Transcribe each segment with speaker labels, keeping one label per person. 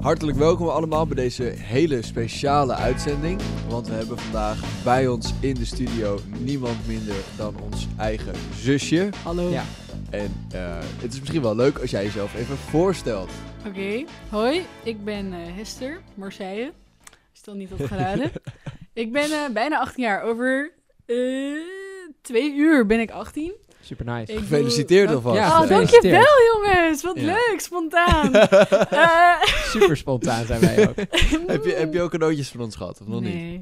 Speaker 1: Hartelijk welkom allemaal bij deze hele speciale uitzending. Want we hebben vandaag bij ons in de studio niemand minder dan ons eigen zusje.
Speaker 2: Hallo.
Speaker 3: Ja.
Speaker 1: En eh, het is misschien wel leuk als jij jezelf even voorstelt.
Speaker 2: Oké, hoi. Ik ben eh, Hester Marseille. Stel niet op geraden. ik ben eh, bijna 18 jaar. Over eh, twee uur ben ik 18.
Speaker 3: Super nice.
Speaker 2: Ik
Speaker 1: Gefeliciteerd
Speaker 2: doe-
Speaker 1: alvast.
Speaker 3: Ja,
Speaker 2: Oh,
Speaker 3: gefeliciteerd.
Speaker 2: dankjewel jongens. Wat
Speaker 1: Ja.
Speaker 2: leuk, spontaan. Eh,
Speaker 3: Super spontaan zijn wij ook.
Speaker 1: Heb je, heb je ook cadeautjes van ons gehad? Of nog niet?
Speaker 2: nee.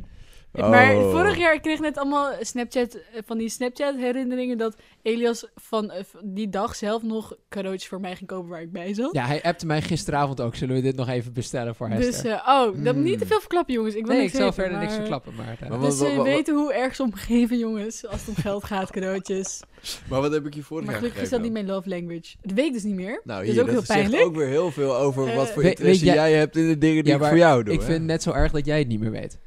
Speaker 2: Ik- Maar
Speaker 1: Oh.
Speaker 2: vorig jaar ik kreeg net allemaal Snapchat, eh, van die Snapchat-herinneringen dat Elias van eh, van die dag zelf nog cadeautjes voor mij ging kopen waar ik bij zat.
Speaker 3: Ja, hij appte mij gisteravond ook. Zullen we dit nog even bestellen voor Hester?
Speaker 2: Dus, eh, oh, dat
Speaker 1: Mm.
Speaker 2: niet te veel verklappen, jongens. Ik wil
Speaker 3: nee, ik
Speaker 2: niks
Speaker 3: zal
Speaker 2: weten,
Speaker 3: verder niks
Speaker 2: maar-
Speaker 3: verklappen, maar... eh,
Speaker 1: Maar wat-
Speaker 2: Dus
Speaker 1: wa-
Speaker 2: eh,
Speaker 1: wa- wa-
Speaker 2: weten hoe erg ze omgeven, jongens, als het om geld gaat, cadeautjes.
Speaker 1: Maar wat heb ik je vorig
Speaker 2: maar
Speaker 1: jaar
Speaker 2: gelukkig is
Speaker 1: gegeven
Speaker 2: dat niet
Speaker 1: dan?
Speaker 2: mijn love language. Dat weet ik dus niet meer.
Speaker 1: Nou,
Speaker 2: Dat is
Speaker 1: hier,
Speaker 2: ook
Speaker 1: dat
Speaker 2: heel
Speaker 1: zegt
Speaker 2: pijnlijk.
Speaker 1: ook weer heel veel over
Speaker 2: Eh,
Speaker 1: wat voor
Speaker 3: Weet-
Speaker 1: interesse
Speaker 3: weet jij-
Speaker 1: jij hebt in de dingen die
Speaker 3: Ja,
Speaker 1: ik
Speaker 3: maar
Speaker 1: voor jou doe.
Speaker 3: ik
Speaker 1: hè?
Speaker 3: vind het net zo erg dat jij het niet meer weet.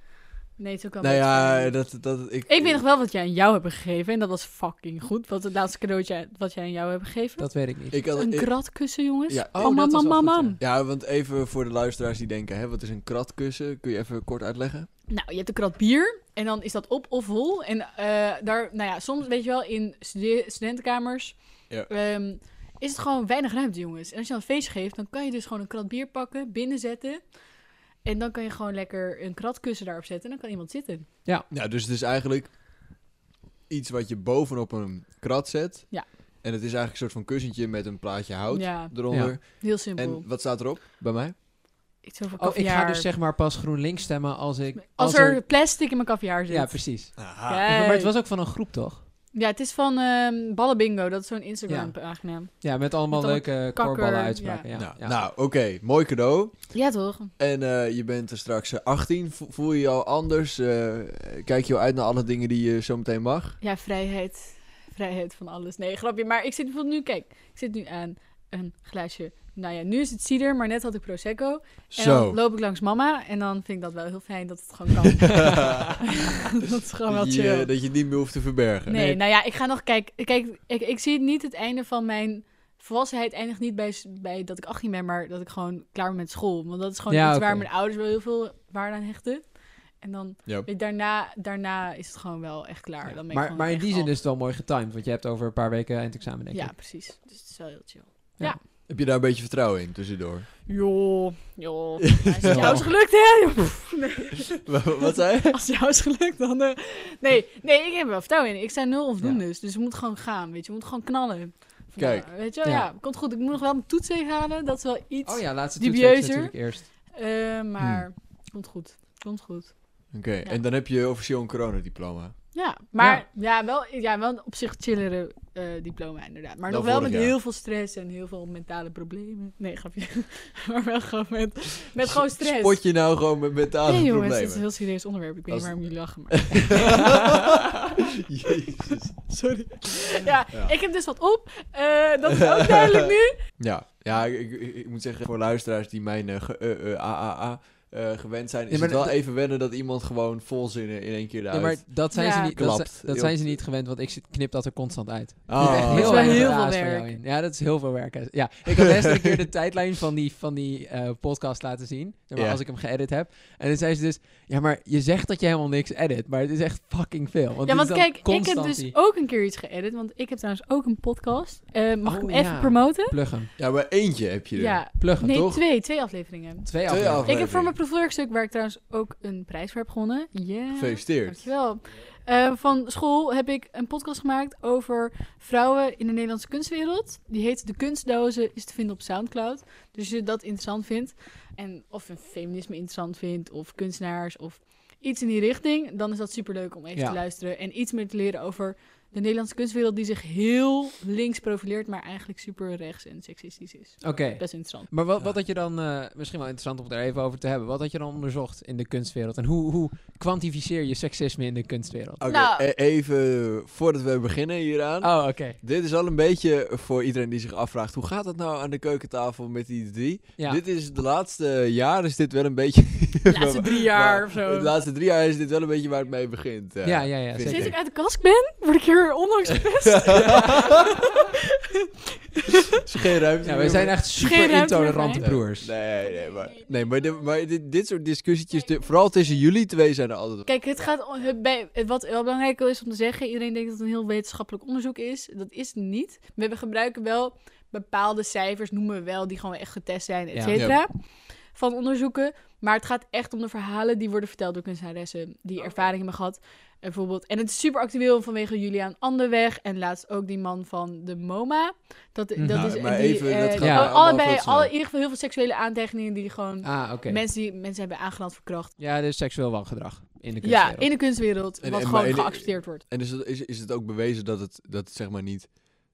Speaker 2: Nee, zo kan
Speaker 1: Nou
Speaker 2: het
Speaker 1: ja,
Speaker 2: niet.
Speaker 1: dat... dat ik,
Speaker 2: Ik weet nog wel wat jij aan jou hebt gegeven. En dat was fucking goed. Wat het laatste cadeautje wat jij aan jou hebt gegeven.
Speaker 3: Dat weet ik niet.
Speaker 1: Ik had,
Speaker 2: een
Speaker 1: ik-
Speaker 2: kratkussen, jongens.
Speaker 1: Ja,
Speaker 2: oh,
Speaker 3: oh,
Speaker 2: mam,
Speaker 3: dat was
Speaker 2: mam,
Speaker 3: wel
Speaker 2: mam,
Speaker 3: goed,
Speaker 2: mam.
Speaker 1: Ja, want even voor de luisteraars die denken, hè, wat is een kratkussen? Kun je even kort uitleggen?
Speaker 2: Nou, je hebt een krat bier. En dan is dat op of vol. En eh, daar, nou ja, soms weet je wel, in stude- studentenkamers...
Speaker 1: Ja.
Speaker 2: ehm, is het gewoon weinig ruimte, jongens. En als je dan een feest geeft, dan kan je dus gewoon een krat bier pakken, binnenzetten. En dan kan je gewoon lekker een kratkussen daarop zetten. En dan kan iemand zitten.
Speaker 1: Ja, dus het is eigenlijk iets wat je bovenop een krat zet.
Speaker 2: Ja.
Speaker 1: En het is eigenlijk een soort van kussentje met een plaatje hout
Speaker 2: Ja,
Speaker 1: eronder.
Speaker 2: heel simpel.
Speaker 1: En wat staat erop bij mij?
Speaker 2: Iets over
Speaker 3: Oh, ik ga
Speaker 2: kaviaar.
Speaker 3: dus zeg maar pas GroenLinks stemmen als ik...
Speaker 2: als, er, plastic in mijn caviar zit.
Speaker 3: Ja, precies.
Speaker 1: Aha.
Speaker 2: Ja.
Speaker 3: Maar het was ook van een groep, toch?
Speaker 2: Ja, het is van ehm Ballenbingo. Dat is zo'n
Speaker 3: Ja,
Speaker 2: Instagram-pagina.
Speaker 3: met allemaal
Speaker 2: Met allemaal
Speaker 3: leuke
Speaker 2: kakker,
Speaker 3: korballen uitspraken. Ja.
Speaker 1: nou,
Speaker 3: ja.
Speaker 1: nou, oké. Mooi cadeau.
Speaker 2: Ja, toch?
Speaker 1: En eh, je bent er straks eh, 18. Vo- Voel je je al anders? Eh, kijk je al uit naar alle dingen die je zo meteen mag?
Speaker 2: Ja, vrijheid. Vrijheid van alles. Nee, grapje. Maar ik zit bijvoorbeeld nu, kijk, ik zit nu aan een glaasje. Nou ja, nu is het cider, maar net had ik Prosecco. En
Speaker 1: zo.
Speaker 2: dan loop ik langs mama en dan vind ik dat wel heel fijn dat het gewoon kan. dat is gewoon wel
Speaker 1: dat,
Speaker 2: chill.
Speaker 1: je, dat je het niet meer hoeft te verbergen.
Speaker 2: nee,
Speaker 3: nee.
Speaker 2: nou ja, ik ga nog kijken. Kijk, ik, ik zie niet het einde van mijn volwassenheid eindigt niet bij, s- bij dat ik 18 ben, maar dat ik gewoon klaar ben met school. Want dat is gewoon
Speaker 3: Ja,
Speaker 2: iets
Speaker 3: oké.
Speaker 2: waar mijn ouders wel heel veel waarde aan hechten. En dan,
Speaker 1: Ja.
Speaker 2: weet je, daarna, daarna is het gewoon wel echt klaar.
Speaker 3: Ja.
Speaker 2: Dan ben ik
Speaker 3: Maar,
Speaker 2: gewoon
Speaker 3: maar in
Speaker 2: echt
Speaker 3: die zin
Speaker 2: af.
Speaker 3: is het wel mooi getimed, want je hebt over een paar weken eindexamen, denk
Speaker 2: Ja,
Speaker 3: ik.
Speaker 2: precies. Dus het is wel heel chill.
Speaker 1: Heb je daar een beetje vertrouwen in tussendoor?
Speaker 2: Joh, joh. Als het jou is gelukt, hè? Pff, Nee.
Speaker 1: wat zei je?
Speaker 2: Als het jou is gelukt, dan... eh, Nee, nee, ik heb er wel vertrouwen in. Ik sta nul of doen
Speaker 3: Ja.
Speaker 2: dus. Dus we moeten gewoon gaan, weet je. We moeten gewoon knallen. Van,
Speaker 1: Kijk.
Speaker 2: nou, weet je wel, ja.
Speaker 3: Ja.
Speaker 2: komt goed. Ik moet nog wel mijn toets halen. Dat is wel iets.
Speaker 3: Oh ja, laatste
Speaker 2: Dubieuzer.
Speaker 3: toets is natuurlijk eerst.
Speaker 2: Eh, maar komt goed. Komt goed.
Speaker 1: Oké, en dan heb je officieel een coronadiploma.
Speaker 2: Ja, maar ja. wel, ja, wel een op zich chillere eh, diploma inderdaad. Maar
Speaker 1: Dan
Speaker 2: nog wel
Speaker 1: vorig
Speaker 2: met
Speaker 1: jaar.
Speaker 2: heel veel stress en heel veel mentale problemen. Nee, grapje. maar wel gewoon met, met gewoon stress.
Speaker 1: Spot je nou gewoon met mentale
Speaker 2: Nee jongens, dit is een
Speaker 1: problemen?
Speaker 2: heel serieus onderwerp. Ik weet
Speaker 1: Als-
Speaker 2: niet waarom jullie lachen, maar...
Speaker 1: Jezus.
Speaker 2: Sorry. Ja,
Speaker 1: Ja.
Speaker 2: ik heb dus wat op. Eh, dat is ook duidelijk nu.
Speaker 1: Ja, ja ik, ik, ik moet zeggen, voor luisteraars die mijn eh, ge- eh, eh, AAA eh, gewend zijn, is
Speaker 3: Ja, maar
Speaker 1: het wel
Speaker 3: dat-
Speaker 1: even wennen dat iemand gewoon vol zinnen in één keer
Speaker 3: Ja,
Speaker 1: eruit...
Speaker 3: maar dat zijn, ze
Speaker 2: Ja.
Speaker 3: niet, dat,
Speaker 1: Klapt.
Speaker 3: zijn- dat zijn ze niet gewend, want ik zit- knip dat er constant uit.
Speaker 1: Ah.
Speaker 3: Er zit echt
Speaker 2: Dat is
Speaker 3: heel,
Speaker 2: wel
Speaker 3: weinig
Speaker 2: heel
Speaker 3: raars
Speaker 2: veel
Speaker 3: voor jou
Speaker 2: werk.
Speaker 3: in. Ja, dat is heel veel werk. Ja, ik had eerst een keer de tijdlijn van die, van die eh, podcast laten zien. zeg maar,
Speaker 1: Ja.
Speaker 3: Als ik hem geëdit heb. En dan zei ze dus, ja, maar je zegt dat je helemaal niks edit. Maar het is echt fucking veel. Want
Speaker 2: ja,
Speaker 3: dit
Speaker 2: want
Speaker 3: is dan
Speaker 2: kijk, ik heb
Speaker 3: constant
Speaker 2: dus
Speaker 3: die-
Speaker 2: ook een keer iets geëdit. Want ik heb trouwens ook een podcast. Eh, mag ik
Speaker 3: Oh,
Speaker 2: hem even
Speaker 3: ja.
Speaker 2: promoten?
Speaker 3: Plug hem,
Speaker 1: Ja, maar eentje heb je er.
Speaker 2: Ja.
Speaker 3: plug hem.
Speaker 2: Nee,
Speaker 1: toch?
Speaker 2: twee. Twee afleveringen.
Speaker 3: Twee
Speaker 1: Twee
Speaker 3: afleveringen.
Speaker 1: afleveringen.
Speaker 2: Ik heb voor mijn proefwerkstuk, waar ik trouwens ook een prijs voor heb gewonnen. Yeah.
Speaker 1: Gefeliciteerd.
Speaker 2: Dankjewel. Eh, van school heb ik een podcast gemaakt over vrouwen in de Nederlandse kunstwereld. Die heet De Kunstdozen, is te vinden op Soundcloud. Dus als je dat interessant vindt, en of je feminisme interessant vindt, of kunstenaars, of iets in die richting, dan is dat superleuk om even
Speaker 3: Ja.
Speaker 2: te luisteren. En iets meer te leren over de Nederlandse kunstwereld, die zich heel links profileert, maar eigenlijk super rechts en seksistisch is.
Speaker 3: Oké.
Speaker 2: Best interessant.
Speaker 3: Maar wat, wat had je dan, eh, misschien wel interessant om het er even over te hebben. Wat had je dan onderzocht in de kunstwereld? En hoe, hoe kwantificeer je seksisme in de kunstwereld?
Speaker 1: Oké,
Speaker 2: Nou. Ah.
Speaker 1: e- even voordat we beginnen hieraan.
Speaker 3: Oh, oké.
Speaker 1: Dit is al een beetje voor iedereen die zich afvraagt, hoe gaat dat nou aan de keukentafel met die drie?
Speaker 3: Ja.
Speaker 1: Dit is de laatste jaar is dit wel een beetje...
Speaker 2: De laatste drie jaar
Speaker 1: Maar
Speaker 2: of zo.
Speaker 1: De laatste drie jaar is dit wel een beetje waar het mee begint. eh,
Speaker 3: Ja, ja, ja,
Speaker 1: vind
Speaker 3: zeker.
Speaker 2: Sinds
Speaker 1: ik.
Speaker 2: ik uit de kast ben, word ik hier onlangs gepest.
Speaker 1: Ze geen ruimte
Speaker 3: Ja, wij
Speaker 1: meer
Speaker 3: zijn
Speaker 1: voor-
Speaker 3: echt super
Speaker 2: ruimte meer
Speaker 3: intolerante
Speaker 2: voor
Speaker 3: broers.
Speaker 1: Nee, nee, maar, nee, maar, dit, maar dit, dit soort discussietjes, dit- vooral tussen jullie twee zijn er altijd...
Speaker 2: Kijk, het gaat om- het bij, het wat wel belangrijk is om te zeggen, iedereen denkt dat het een heel wetenschappelijk onderzoek is. Dat is het niet. We hebben- gebruiken wel bepaalde cijfers, noemen we wel, die gewoon echt getest zijn, et
Speaker 3: Ja.
Speaker 2: cetera, van onderzoeken. Maar het gaat echt om de verhalen die worden verteld door kunstenaressen, die ervaring hebben gehad. En Bijvoorbeeld, en het is super actueel vanwege Julian Anderweg en laatst ook die man van de MoMA. Dat, dat
Speaker 3: Nou,
Speaker 2: is
Speaker 1: maar
Speaker 2: die,
Speaker 1: even, dat
Speaker 2: eh,
Speaker 1: gaat
Speaker 2: die-
Speaker 3: allemaal
Speaker 1: veel
Speaker 2: allebei,
Speaker 1: te snel.
Speaker 2: alle, in ieder geval heel veel seksuele aantijgingen die gewoon
Speaker 3: Ah, oké.
Speaker 2: mensen, die, mensen hebben aangeland verkracht.
Speaker 3: Ja, dus seksueel wangedrag in de
Speaker 2: Ja,
Speaker 3: kunstwereld.
Speaker 2: in de kunstwereld.
Speaker 1: En-
Speaker 2: wat
Speaker 1: en- maar
Speaker 2: gewoon
Speaker 1: in de-
Speaker 2: geaccepteerd wordt.
Speaker 1: En is het, is, is het ook bewezen dat het, dat het zeg maar niet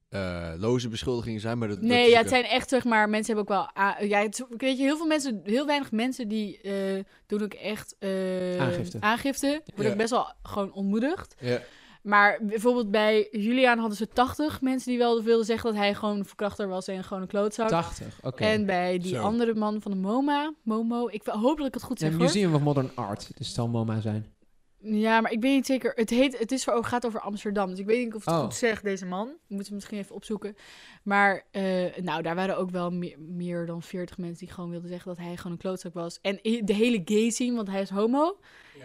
Speaker 1: eh, loze beschuldigingen zijn, maar dat... dat
Speaker 2: Nee,
Speaker 1: is
Speaker 2: ja,
Speaker 1: ook-
Speaker 2: het zijn echt, zeg maar, mensen hebben ook wel... a- Ja, het, weet je, heel veel mensen, heel weinig mensen die eh, doen ook echt... eh,
Speaker 3: Aangifte.
Speaker 2: Aangifte. Wordt
Speaker 1: Ja.
Speaker 2: ook best wel gewoon ontmoedigd.
Speaker 1: Ja,
Speaker 2: Maar bijvoorbeeld bij Julian hadden ze 80 mensen die wel wilden zeggen dat hij gewoon een verkrachter was en gewoon een klootzak.
Speaker 3: 80, oké.
Speaker 2: En bij die
Speaker 1: Zo.
Speaker 2: andere man van de MoMA, Momo, ik hoop dat ik het goed
Speaker 3: Ja,
Speaker 2: zeg hoor.
Speaker 3: Museum of Modern Art, dus het zal MoMA zijn.
Speaker 2: Ja, maar ik weet niet zeker. Het, heet, het is voor, ook gaat over Amsterdam. Dus ik weet niet of het
Speaker 3: Oh.
Speaker 2: goed zegt, deze man. Moeten we misschien even opzoeken. Maar eh, nou, daar waren ook wel meer, meer dan 40 mensen die gewoon wilden zeggen dat hij gewoon een klootzak was. En i- de hele gay scene, want hij is homo.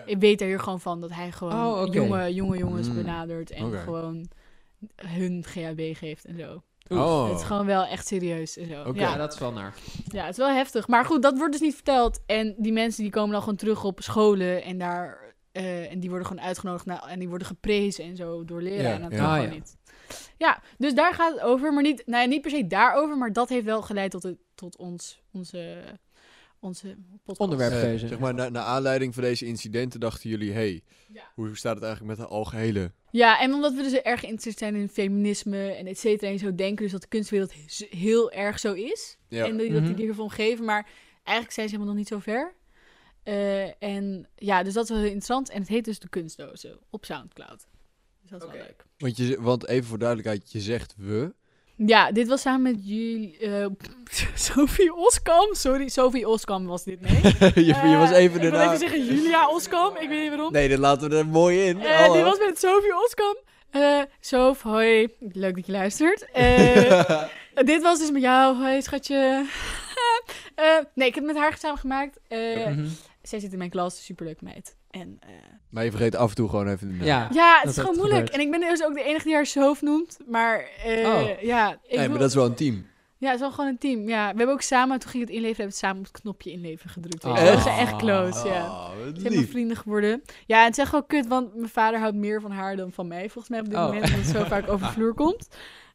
Speaker 2: Ik weet daar hier gewoon van dat hij gewoon
Speaker 3: Oh, oké.
Speaker 2: jonge, jonge jongens
Speaker 1: Mm.
Speaker 2: benadert. En
Speaker 1: Oké.
Speaker 2: gewoon hun GHB geeft en zo.
Speaker 3: Oeh.
Speaker 1: Oh.
Speaker 2: Het is gewoon wel echt serieus en zo.
Speaker 1: Oké.
Speaker 3: Ja,
Speaker 2: Ja,
Speaker 3: dat is wel naar.
Speaker 2: ja, het is wel heftig. Maar goed, dat wordt dus niet verteld. En die mensen die komen dan gewoon terug op scholen en daar. eh, en die worden gewoon uitgenodigd naar, en die worden geprezen en zo door leren.
Speaker 1: Ja,
Speaker 2: en dat
Speaker 1: ja.
Speaker 2: kan
Speaker 3: Ah,
Speaker 2: gewoon
Speaker 3: ja.
Speaker 2: niet. Ja, dus daar gaat het over. Maar niet, nou ja, niet per se daarover, maar dat heeft wel geleid tot, het, tot ons, onze, onze podcast.
Speaker 3: Onderwerp.
Speaker 1: Eh,
Speaker 3: Keuze.
Speaker 1: zeg maar, na, naar aanleiding van deze incidenten dachten jullie, hey,
Speaker 2: Ja.
Speaker 1: hoe staat het eigenlijk met de algehele?
Speaker 2: Ja, en omdat we dus erg geïnteresseerd zijn in feminisme en et cetera. En zo denken dus dat de kunstwereld z- heel erg zo is.
Speaker 1: Ja.
Speaker 2: En dat die,
Speaker 3: Mhm.
Speaker 2: dat die ervan geven. Maar eigenlijk zijn ze helemaal nog niet zo ver. Eh, en ja, dus dat is wel heel interessant. En het heet dus De Kunstdozen op Soundcloud. Dus dat is
Speaker 3: Oké.
Speaker 2: wel leuk.
Speaker 1: Want, je, z- want even voor duidelijkheid, je zegt we.
Speaker 2: Ja, dit was samen met jullie... eh, Sophie Oskam. Sorry, Sophie Oskam was dit, nee.
Speaker 1: je, je
Speaker 2: Eh,
Speaker 1: was even
Speaker 2: Ik wil
Speaker 1: de naam.
Speaker 2: even zeggen Julia Oskam. Ik weet niet waarom.
Speaker 1: Nee, dat laten we er mooi in. Oh,
Speaker 2: Eh,
Speaker 1: Hallo.
Speaker 2: dit was met Sophie Oskam. Eh Sof, hoi. Leuk dat je luistert. Eh, dit was dus met jou. Hoi, schatje. Eh, nee, ik heb het met haar samen gemaakt. Eh,
Speaker 3: Mhm.
Speaker 2: Zij zit in mijn klas, superleuk meid. En, eh,
Speaker 1: Maar je vergeet af en toe gewoon even de naam.
Speaker 3: Ja.
Speaker 2: ja, het
Speaker 3: Ah, dat
Speaker 2: is gewoon
Speaker 3: het
Speaker 2: moeilijk.
Speaker 3: gebeurt.
Speaker 2: En ik ben dus ook de enige die haar Sof noemt. Maar eh,
Speaker 3: Oh.
Speaker 2: ja, ik
Speaker 1: Nee,
Speaker 2: wil-
Speaker 1: maar dat is wel een team.
Speaker 2: ja, het is wel gewoon een team. Ja, we hebben ook samen, toen ging het inleveren, hebben we samen op het knopje inleveren gedrukt.
Speaker 3: Oh.
Speaker 2: We zijn
Speaker 3: Echt?
Speaker 2: echt close, Dus ja.
Speaker 1: Oh, wat
Speaker 2: Ze zijn mijn
Speaker 1: lief.
Speaker 2: vrienden geworden. Ja, en het is echt wel kut, want mijn vader houdt meer van haar dan van mij. Volgens mij op dit
Speaker 3: Oh.
Speaker 2: moment, omdat het zo vaak over de vloer komt.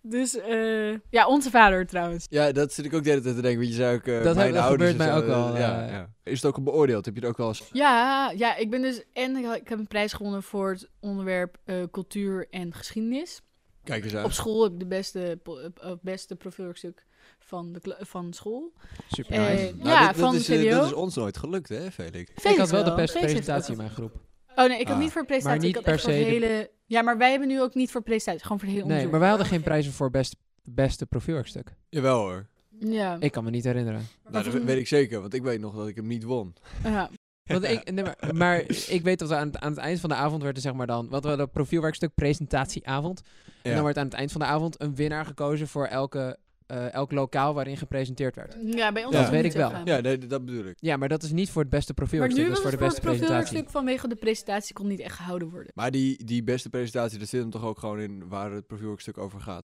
Speaker 2: Dus, eh, ja, onze vader trouwens.
Speaker 1: Ja, dat zit ik ook de hele tijd te denken. Want je zei ook, eh,
Speaker 3: Dat
Speaker 1: mijn
Speaker 3: heb- dat
Speaker 1: ouders
Speaker 3: gebeurt
Speaker 1: en
Speaker 3: mij
Speaker 1: zo,
Speaker 3: ook wel,
Speaker 1: eh,
Speaker 3: eh.
Speaker 1: Is het ook beoordeeld? Heb je het ook wel eens...
Speaker 2: Ja, ja, ik ben dus... En ik, ha- ik heb een prijs gewonnen voor het onderwerp eh, cultuur en geschiedenis.
Speaker 1: Kijk eens aan.
Speaker 2: Op school heb ik de beste, po- eh, eh, beste profielwerkstuk van, de, kla- van school.
Speaker 3: Super
Speaker 2: Eh,
Speaker 3: nice.
Speaker 1: Nou,
Speaker 2: ja,
Speaker 1: dit-
Speaker 2: van
Speaker 1: dat is,
Speaker 2: de
Speaker 1: eh,
Speaker 2: CDO.
Speaker 1: Dat is ons nooit gelukt, hè, Felix?
Speaker 3: ik
Speaker 2: Felix
Speaker 3: had wel de
Speaker 2: Felix
Speaker 3: beste
Speaker 2: heeft
Speaker 3: presentatie in
Speaker 2: dat.
Speaker 3: mijn groep.
Speaker 2: Oh nee, ik had
Speaker 1: Ah.
Speaker 2: niet voor presentatie.
Speaker 3: Maar
Speaker 2: ik
Speaker 3: niet
Speaker 2: had echt
Speaker 3: per
Speaker 2: voor
Speaker 3: se
Speaker 2: het hele... Ja, maar wij hebben nu ook niet voor presentatie. Gewoon voor het hele
Speaker 3: Nee,
Speaker 2: onderzoek.
Speaker 3: maar wij hadden geen prijzen voor best, beste profielwerkstuk.
Speaker 1: Jawel hoor.
Speaker 2: Ja.
Speaker 3: Ik kan me niet herinneren.
Speaker 1: Nou, dat weet ik zeker, want ik weet nog dat ik hem niet won.
Speaker 2: Ja.
Speaker 3: Want ik, nee, maar, maar ik weet dat we aan het, aan het eind van de avond werden, zeg maar dan, wat we hadden profielwerkstuk presentatieavond. En dan werd aan het eind van de avond een winnaar gekozen voor elke, eh, elk lokaal waarin gepresenteerd werd.
Speaker 2: ja, bij ons
Speaker 1: Ja.
Speaker 2: is het
Speaker 3: Weet
Speaker 2: niet
Speaker 3: ik
Speaker 2: zo
Speaker 3: wel.
Speaker 2: gaan.
Speaker 1: Ja, nee, d- dat bedoel ik.
Speaker 3: Ja, maar dat is niet voor het beste
Speaker 2: Maar
Speaker 3: profielwerkstuk,
Speaker 2: nu
Speaker 3: dat is
Speaker 2: was
Speaker 3: voor de
Speaker 2: het voor
Speaker 3: beste
Speaker 2: het
Speaker 3: presentatie.
Speaker 2: profielwerkstuk vanwege de presentatie kon niet echt gehouden worden.
Speaker 1: Maar die, die beste presentatie, daar zit hem toch ook gewoon in waar het profielwerkstuk over gaat.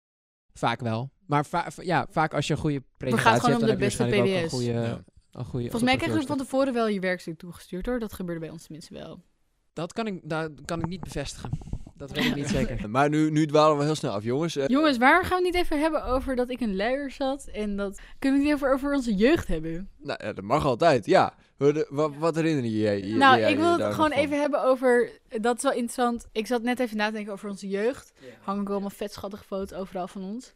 Speaker 3: Vaak wel. Maar va- va- ja, vaak als je een goede
Speaker 2: gaat
Speaker 3: presentatie
Speaker 2: gewoon
Speaker 3: hebt,
Speaker 2: om
Speaker 3: dan
Speaker 2: de
Speaker 3: heb je
Speaker 2: beste
Speaker 3: waarschijnlijk ook een
Speaker 2: PBS.
Speaker 3: goede...
Speaker 1: Ja.
Speaker 3: Een goede
Speaker 2: Volgens mij kregen we
Speaker 3: profielwerkstuk.
Speaker 2: van tevoren wel je werkstuk toegestuurd hoor. Dat gebeurde bij ons tenminste wel.
Speaker 3: Dat kan ik, dat kan ik niet bevestigen. Dat weet ik niet zeker.
Speaker 1: Maar nu, nu dwalen we heel snel af, jongens. Eh,
Speaker 2: Jongens, waar gaan we niet even hebben over dat ik een luier zat? En dat kunnen we niet even over onze jeugd hebben?
Speaker 1: nou, ja, dat mag altijd, ja. Wat, wat, wat herinner je je? je-
Speaker 2: nou,
Speaker 1: jij
Speaker 2: ik
Speaker 1: je
Speaker 2: wil
Speaker 1: daar
Speaker 2: het gewoon
Speaker 1: nog van?
Speaker 2: even hebben over. Dat is wel interessant. Ik zat net even na te denken over onze jeugd. Hangen ook allemaal vet schattige foto's overal van ons.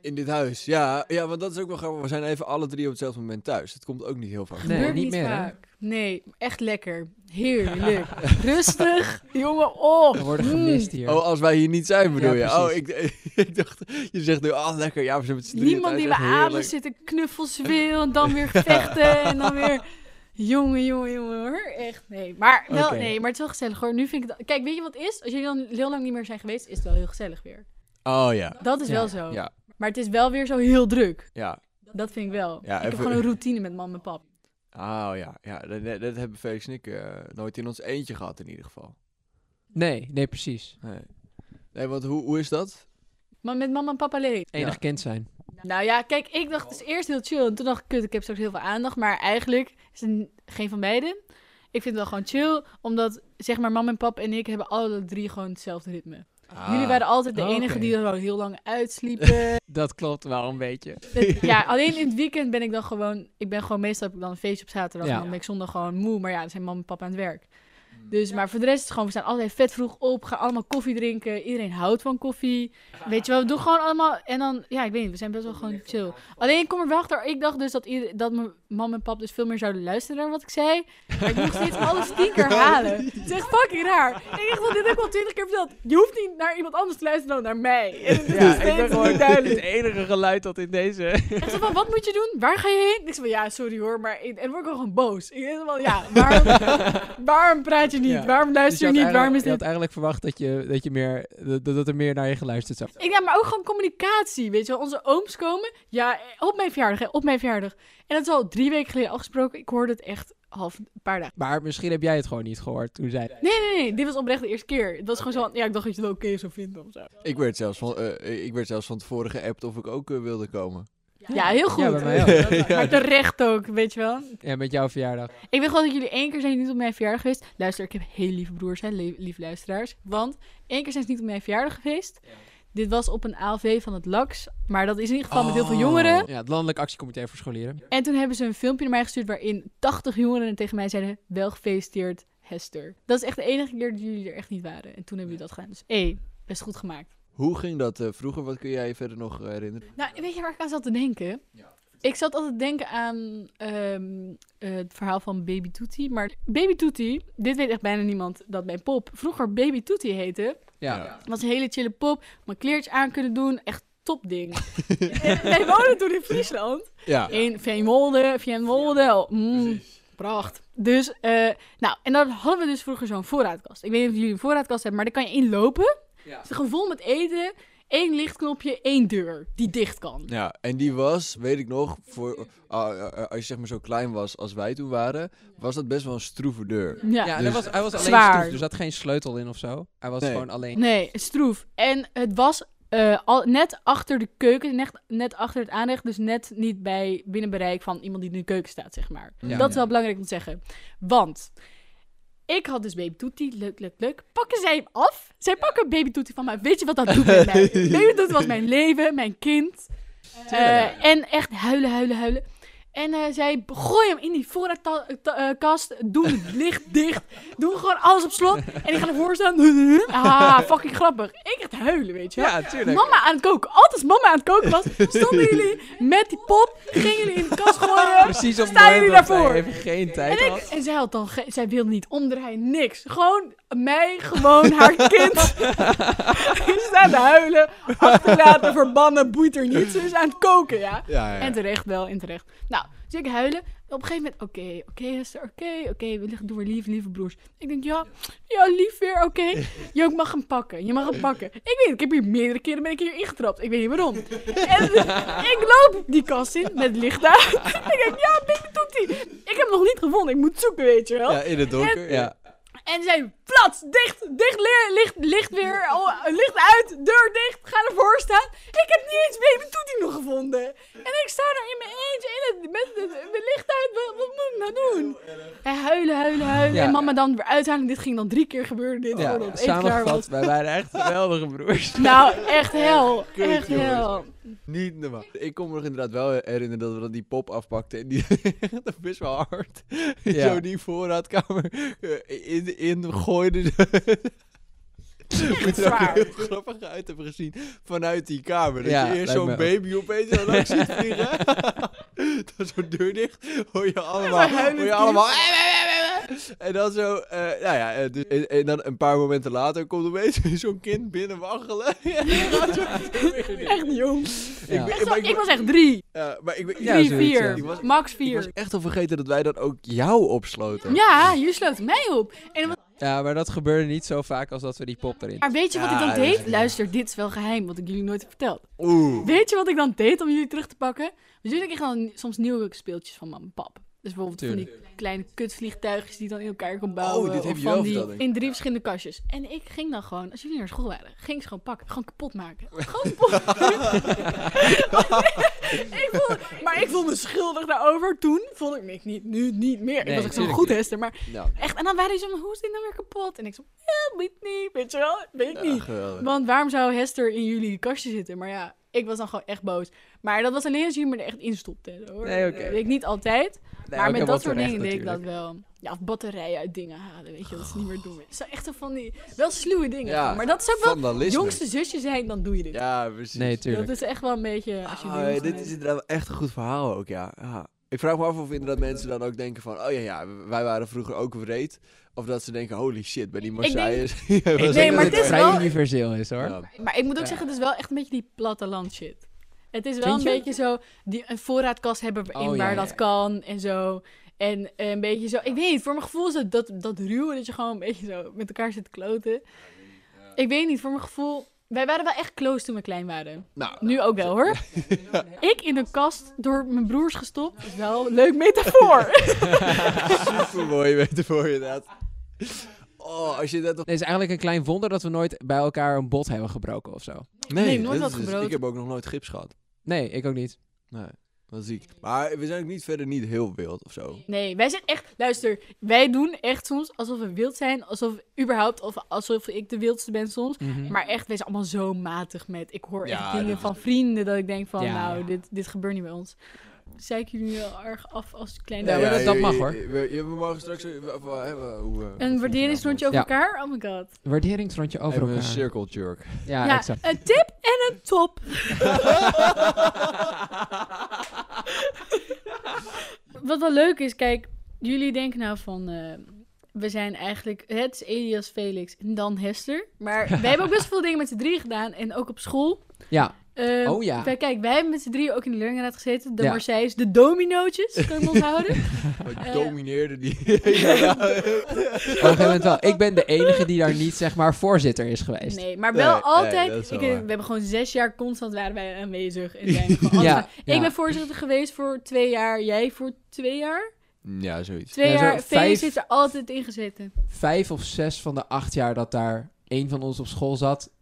Speaker 1: In dit huis, ja. Ja, want dat is ook wel grappig. We zijn even alle drie op hetzelfde moment thuis. Dat komt ook niet heel vaak.
Speaker 3: Nee,
Speaker 2: Gebeurt
Speaker 3: niet meer, hè?
Speaker 2: vaak. Nee, echt lekker. Heerlijk. Rustig. Jongen, oh.
Speaker 3: We worden
Speaker 2: mm.
Speaker 3: gemist hier.
Speaker 1: Oh, als wij hier niet zijn, bedoel
Speaker 3: Ja,
Speaker 1: je? Oh, ik,
Speaker 3: precies.
Speaker 1: ik dacht, je zegt nu, ah, lekker. Ja, we zijn met
Speaker 3: dus
Speaker 1: z'n drieën
Speaker 2: Niemand
Speaker 1: thuis,
Speaker 2: die
Speaker 1: echt
Speaker 2: bij adem
Speaker 1: heerlijk.
Speaker 2: zit en knuffels wil en dan weer vechten en dan weer... Jongen, jongen, jongen hoor. Echt, nee. Maar, wel,
Speaker 3: Oké.
Speaker 2: nee, maar het is wel gezellig hoor. Nu vind ik dat... Kijk, weet je wat het is? Als jullie dan heel lang niet meer zijn geweest, is het wel heel gezellig weer.
Speaker 1: Oh ja.
Speaker 2: Dat is
Speaker 3: Ja.
Speaker 2: wel zo.
Speaker 1: Ja.
Speaker 2: Maar het is wel weer zo heel druk.
Speaker 1: Ja.
Speaker 2: Dat vind ik wel.
Speaker 1: Ja,
Speaker 2: ik
Speaker 1: even-
Speaker 2: heb gewoon een routine met mam en pap.
Speaker 1: Ah oh, ja, ja dat, dat- dat hebben Felix en ik eh, nooit in ons eentje gehad in ieder geval.
Speaker 3: Nee, nee, precies.
Speaker 1: Nee, nee want hoe, hoe is dat?
Speaker 2: Maar met mama en papa alleen.
Speaker 3: Enig
Speaker 1: Ja.
Speaker 3: kind zijn.
Speaker 2: Nou ja, kijk, ik dacht dus eerst heel chill. En toen dacht ik, kut, ik heb straks heel veel aandacht. Maar eigenlijk is het n- geen van beiden. Ik vind het wel gewoon chill, omdat zeg maar mam en pap en ik hebben alle drie gewoon hetzelfde ritme.
Speaker 1: Ah.
Speaker 2: Jullie waren altijd de
Speaker 3: Oh,
Speaker 2: enige
Speaker 3: oké.
Speaker 2: die er gewoon heel lang uitsliepen.
Speaker 3: Dat klopt wel een beetje.
Speaker 2: Het- ja, alleen in het weekend ben ik dan gewoon... Ik ben gewoon meestal heb ik dan een feestje op zaterdag.
Speaker 3: Ja.
Speaker 2: En dan ben ik zondag gewoon moe. Maar ja, dan zijn mam en pap aan het werk. Dus, maar voor de rest is het gewoon... We staan altijd vet vroeg op. Gaan allemaal koffie drinken. Iedereen houdt van koffie. Weet je wel, we doen gewoon allemaal... En dan, ja, ik weet niet. We zijn best wel gewoon chill. Alleen ik kom er wel achter. Ik dacht dus dat, ieder, dat mijn mam en pap dus veel meer zouden luisteren naar wat ik zei. Maar ik moest steeds alles tien keer halen. Het is echt fucking raar. Ik dacht, dit heb ik al twintig keer verteld. Je hoeft niet naar iemand anders te luisteren dan naar mij. En het is nog steeds niet duidelijk.
Speaker 3: het enige geluid dat in deze...
Speaker 2: Echt zo van, wat moet je doen? Waar ga je heen? Ik zei van, ja, sorry hoor, maar... En dan word ik ook gewoon boos. Ik denk van, ja, waarom, waarom praat je niet?
Speaker 3: Ja.
Speaker 2: Waarom
Speaker 3: Dus
Speaker 2: luister
Speaker 3: had
Speaker 2: je
Speaker 3: eigenlijk-
Speaker 2: niet? Waarom is
Speaker 3: je had
Speaker 2: dit...
Speaker 3: eigenlijk verwacht dat, je, dat, je meer, dat, dat er meer naar je geluisterd zou
Speaker 2: Ik, ja, maar ook gewoon communicatie, weet je wel. Onze ooms komen, ja, op mijn verjaardag, hè, op mijn verjaardag. En dat is al drie weken geleden afgesproken. Ik hoorde het echt half een paar dagen.
Speaker 3: Maar misschien heb jij het gewoon niet gehoord toen zij...
Speaker 2: Nee, nee, nee, dit was oprecht de eerste keer. Het was gewoon zo van, ja, ik dacht dat je het oké zou vinden of zo.
Speaker 1: Ik werd zelfs van, eh, ik werd zelfs van tevoren geappt of ik ook eh, wilde komen.
Speaker 2: Ja, heel goed.
Speaker 3: Ja, bij mij ook.
Speaker 2: Maar terecht ook, weet je wel.
Speaker 3: Ja, met jouw verjaardag.
Speaker 2: Ik weet gewoon dat jullie één keer zijn niet op mijn verjaardag geweest. Luister, ik heb heel lieve broers, hè, le- lieve luisteraars. Want één keer zijn ze niet op mijn verjaardag geweest. Dit was op een ALV van het LAX. Maar dat is in ieder geval met heel
Speaker 3: Oh.
Speaker 2: veel jongeren.
Speaker 3: Ja, het Landelijk Actiecomité voor Scholieren.
Speaker 2: En toen hebben ze een filmpje naar mij gestuurd waarin 80 jongeren tegen mij zeiden... Wel gefeliciteerd, Hester. Dat is echt de enige keer dat jullie er echt niet waren. En toen hebben jullie dat gedaan. Dus hé, best goed gemaakt.
Speaker 1: Hoe ging dat eh, vroeger? Wat kun jij je verder nog eh, herinneren?
Speaker 2: Nou, weet je waar ik aan zat te denken? Ik zat altijd te denken aan ehm, eh, het verhaal van Baby Toetie. Maar Baby Toetie, dit weet echt bijna niemand dat mijn pop vroeger Baby Toetie heette.
Speaker 3: Ja.
Speaker 1: Ja.
Speaker 2: Was een hele chille pop. Mijn kleertjes aan kunnen doen. Echt top ding. Wij woonden toen in Friesland.
Speaker 1: Ja.
Speaker 2: In Veenwolde, Veenwolde. Mm, pracht. Dus, eh, nou, en dan hadden we dus vroeger zo'n voorraadkast. Ik weet niet of jullie een voorraadkast hebben, maar daar kan je in lopen.
Speaker 3: Ja.
Speaker 2: Het is gewoon vol met eten. Eén lichtknopje, één deur die dicht kan.
Speaker 1: Ja, en die was, weet ik nog, voor, ah, ah, ah, als je zeg maar zo klein was als wij toen waren, was dat best wel een stroeve deur.
Speaker 2: Ja.
Speaker 3: en
Speaker 1: Dus-
Speaker 3: dat was, hij was alleen
Speaker 2: Zwaar.
Speaker 3: stoef, dus er zat geen sleutel in of zo. Hij was
Speaker 1: Nee.
Speaker 3: gewoon alleen.
Speaker 2: Nee, stroef. En het was eh, al, net achter de keuken, net, net achter het aanrecht. Dus net niet bij binnen bereik van iemand die in de keuken staat, zeg maar.
Speaker 1: Ja.
Speaker 2: Dat is wel belangrijk om te zeggen. Want ik had dus Baby Toetie, leuk, leuk, leuk. Pakken zij hem af? Zij pakken Baby Toetie van mij. Weet je wat dat doet met mij? Baby Toetie was mijn leven, mijn kind. Eh, en echt huilen, huilen, huilen. En eh, zij gooi hem in die eh, voorraadkast. Doen het licht dicht. Doen gewoon alles op slot. En ik ga ervoor staan. Ah, fucking grappig. Ik echt huilen, weet je wel.
Speaker 3: Ja, tuurlijk.
Speaker 2: Mama aan het koken. Altijd als mama aan het koken was, stonden jullie met die pop. Gingen jullie in de kast gooien.
Speaker 3: Precies op het
Speaker 2: Staan jullie
Speaker 3: moment dat hij
Speaker 2: daarvoor?
Speaker 3: even geen tijd
Speaker 2: En, ik,
Speaker 3: had.
Speaker 2: en zij had dan, ge- zij wilde niet omdraaien, niks. Gewoon mij, gewoon haar kind. Ze staat te huilen, achterlaten, verbannen, boeit er niets. Ze is aan het koken, ja.
Speaker 1: Ja, ja.
Speaker 2: En terecht wel, en terecht. Nou, dus ik huilen. Op een gegeven moment, oké, oké Hester, oké, oké. we liggen, doen weer lief, lieve broers. Ik denk, ja, ja, lief weer, oké. Je ook mag hem pakken, je mag hem pakken. Ik weet niet, ik heb hier meerdere keren ben ik hier ingetrapt. Ik weet niet waarom. En ik loop die kast in met het licht uit. ik denk, ja, Baby Toetie. Ik heb hem nog niet gevonden, ik moet zoeken, weet je wel.
Speaker 1: Ja, in het donker. Ja.
Speaker 2: En zij plats, dicht, dicht, leer, licht, licht weer, oh, licht uit, deur dicht, ga ervoor staan. Ik heb niet eens baby Toetie nog gevonden. En ik sta daar in mijn eentje, in het, met, het- met licht uit, wat, wat moet ik nou doen? En huilen, huilen, huilen.
Speaker 3: Ja.
Speaker 2: En mama dan weer uithalen, dit ging dan drie keer gebeuren, dit
Speaker 3: Ja,
Speaker 2: voordat ik klaar was.
Speaker 3: samengevat, wij waren echt geweldige broers.
Speaker 2: Nou, echt hel,
Speaker 1: Kut,
Speaker 2: echt
Speaker 1: jongens.
Speaker 2: hel.
Speaker 1: Niet normaal. Ik kon me nog inderdaad wel herinneren dat we dan die pop afpakten. En die dat best wel hard.
Speaker 3: Ja.
Speaker 1: Zo die voorraadkamer eh, in, in gooiden. Moet er ook
Speaker 2: zwaar.
Speaker 1: heel grappig uit hebben gezien vanuit die kamer. Dat
Speaker 3: Ja,
Speaker 1: je eerst
Speaker 3: lijkt
Speaker 1: zo'n
Speaker 3: me ook.
Speaker 1: baby opeens zo langs ziet vliegen. dan zo'n deur dicht. Hoor je allemaal.
Speaker 2: maar
Speaker 1: Hoor
Speaker 2: huilend
Speaker 1: je
Speaker 2: kind.
Speaker 1: allemaal. En dan zo, eh, nou ja, eh, dus, en, en dan een paar momenten later komt opeens zo'n kind binnen waggelen. En die gaat zo-
Speaker 2: Echt jong.
Speaker 3: Ja.
Speaker 1: ben-
Speaker 2: Echt zo,
Speaker 1: maar ik-
Speaker 2: ik was echt drie,
Speaker 1: Ja, maar ik, ben-
Speaker 3: Ja,
Speaker 2: drie,
Speaker 3: zoiets, ja.
Speaker 2: vier,
Speaker 1: Ik was-
Speaker 2: max
Speaker 1: ik was
Speaker 2: vier.
Speaker 1: echt al vergeten dat wij dan ook jou opsloten.
Speaker 2: Ja, je sloot mij op. En wat
Speaker 3: Ja, maar dat gebeurde niet zo vaak als dat we die pop erin.
Speaker 2: Maar weet je wat ik
Speaker 1: Ja,
Speaker 2: dan
Speaker 1: dat is
Speaker 2: deed?
Speaker 1: niet-
Speaker 2: Luister, dit is wel geheim, wat ik jullie nooit heb verteld.
Speaker 1: Oeh.
Speaker 2: Weet je wat ik dan deed om jullie terug te pakken? Natuurlijk kreeg dan soms nieuwe speeltjes van mijn pap. Dus bijvoorbeeld van die kleine kutvliegtuigjes die dan in elkaar kon bouwen.
Speaker 1: Oh, dit heb
Speaker 2: of
Speaker 1: je
Speaker 2: van
Speaker 1: wel
Speaker 2: die
Speaker 1: verteld, denk ik.
Speaker 2: in drie verschillende kastjes. En ik ging dan gewoon, als jullie naar school waren, ging ik ze gewoon pakken. Gewoon kapot maken. Gewoon kapot ik voelde, Maar ik voelde me schuldig daarover. Toen vond ik me niet, nu niet meer.
Speaker 3: Nee,
Speaker 2: ik was echt zo'n
Speaker 3: tuurlijk
Speaker 2: goed
Speaker 3: niet.
Speaker 2: hester. Maar
Speaker 1: Nou,
Speaker 2: echt, en dan waren ze zo, hoe is dit nou weer kapot? En ik zo, ja, weet niet, weet je wel, weet
Speaker 1: ja,
Speaker 2: niet.
Speaker 1: geweldig.
Speaker 2: Want waarom zou Hester in jullie kastje zitten? Maar ja, ik was dan gewoon echt boos. Maar dat was alleen als jullie me er echt in stopten. Hoor.
Speaker 3: Nee, oké.
Speaker 2: Dat weet ik niet altijd.
Speaker 3: Nee,
Speaker 2: maar
Speaker 3: ook
Speaker 2: met
Speaker 3: wel
Speaker 2: dat soort
Speaker 3: terecht
Speaker 2: dingen deed ik dat
Speaker 3: natuurlijk.
Speaker 2: wel. Ja, of batterijen uit dingen halen, weet je. Dat is niet meer doen. Het zijn echt zo van die, wel sluwe dingen.
Speaker 1: Ja,
Speaker 2: maar dat is ook wel,
Speaker 1: Vandalisme.
Speaker 2: jongste zusje zijn, dan doe je dit.
Speaker 1: Ja, precies.
Speaker 3: Nee, tuurlijk.
Speaker 2: dat is echt wel een beetje, als je
Speaker 1: Ah,
Speaker 2: jongste
Speaker 1: dit
Speaker 2: bent.
Speaker 1: is inderdaad wel echt een goed verhaal ook, ja. ja. Ik vraag me af of inderdaad mensen dan ook denken van... Oh ja, ja, wij waren vroeger ook wreed. Of dat ze denken, holy shit, bij die
Speaker 2: denk-
Speaker 1: Marseilles.
Speaker 3: Ik
Speaker 2: Nee,
Speaker 3: denk
Speaker 2: maar
Speaker 3: dat
Speaker 2: het
Speaker 3: het
Speaker 2: is
Speaker 3: vrij
Speaker 2: wel-
Speaker 3: universeel is hoor.
Speaker 1: Ja.
Speaker 2: Maar ik moet ook
Speaker 3: Ja.
Speaker 2: zeggen, het is wel echt een beetje die platteland shit. Het is wel
Speaker 3: Vind
Speaker 2: een
Speaker 3: je?
Speaker 2: beetje zo, die, een voorraadkast hebben we in
Speaker 3: Oh, ja,
Speaker 2: waar
Speaker 3: ja,
Speaker 2: dat
Speaker 3: ja.
Speaker 2: kan en zo. En eh, een beetje zo, ik weet niet, voor mijn gevoel is het dat, dat ruwe dat je gewoon een beetje zo met elkaar zit te kloten. Ik weet niet, voor mijn gevoel, wij waren wel echt close toen we klein waren.
Speaker 1: Nou,
Speaker 2: Nu ook wel hoor. Ik in een kast door mijn broers gestopt, is wel een leuk metafoor.
Speaker 1: super mooi weten voor je inderdaad. Oh, als je dat... op-
Speaker 3: Het is eigenlijk een klein wonder dat we nooit bij elkaar een bot hebben gebroken of zo.
Speaker 2: Nee,
Speaker 1: dat
Speaker 2: nooit wat
Speaker 1: is dus-
Speaker 2: gebroken.
Speaker 1: Ik heb ook nog nooit gips gehad.
Speaker 3: Nee, ik ook niet.
Speaker 1: Nee, dat is ziek. Maar we zijn ook niet verder niet heel wild of zo.
Speaker 2: Nee, wij zijn echt, luister, wij doen echt soms alsof we wild zijn, alsof überhaupt, of alsof ik de wildste ben soms.
Speaker 3: Mhm.
Speaker 2: Maar echt, wees allemaal zo matig met. Ik hoor
Speaker 1: Ja,
Speaker 2: echt
Speaker 1: dat
Speaker 2: dingen
Speaker 1: is
Speaker 2: van vrienden dat ik denk van,
Speaker 3: Ja,
Speaker 2: nou,
Speaker 3: ja.
Speaker 2: Dit, dit gebeurt niet bij ons. Zei ik jullie nu wel erg af als klein
Speaker 3: Ja, maar dat- dat mag, hoor.
Speaker 1: je- je- we mogen straks... eh, we- we- eh, hoe, eh,
Speaker 2: Een waarderingsrondje over
Speaker 3: Ja.
Speaker 2: elkaar? Oh my god.
Speaker 3: Waarderingsrondje over
Speaker 1: Even een
Speaker 3: elkaar.
Speaker 1: circle jerk.
Speaker 3: Ja,
Speaker 2: Ja,
Speaker 3: exact.
Speaker 2: een tip en een top. Wat wel leuk is, kijk, jullie denken nou van... eh, we zijn eigenlijk, het is Elias, Felix en dan Hester. Maar wij hebben ook best veel dingen met z'n drie gedaan. En ook op school.
Speaker 3: Ja,
Speaker 2: Ehm,
Speaker 3: Oh ja.
Speaker 2: wij- kijk, wij hebben met z'n drieën ook in de leerlingenraad gezeten. De
Speaker 3: Ja.
Speaker 2: Marseilles, de dominootjes, kunnen we ons houden.
Speaker 1: Ik
Speaker 2: Eh.
Speaker 1: domineerde die. Ja,
Speaker 3: op een gegeven moment wel. Ik ben de enige die daar niet, zeg maar, voorzitter is geweest.
Speaker 2: Nee, maar wel
Speaker 1: Nee, nee,
Speaker 2: altijd.
Speaker 1: dat is wel
Speaker 2: ik, eh,
Speaker 1: waar.
Speaker 2: we hebben gewoon zes jaar constant waren wij aanwezig. En zijn we gewoon
Speaker 3: Ja,
Speaker 2: altijd-
Speaker 3: ja.
Speaker 2: Ik ben voorzitter geweest voor twee jaar, jij voor twee jaar.
Speaker 1: ja zoiets.
Speaker 2: Twee
Speaker 3: Ja, zo
Speaker 2: jaar, Felix
Speaker 3: vijf-
Speaker 2: heeft er altijd in gezeten.
Speaker 3: Vijf of zes van de acht jaar dat daar één van ons op school zat,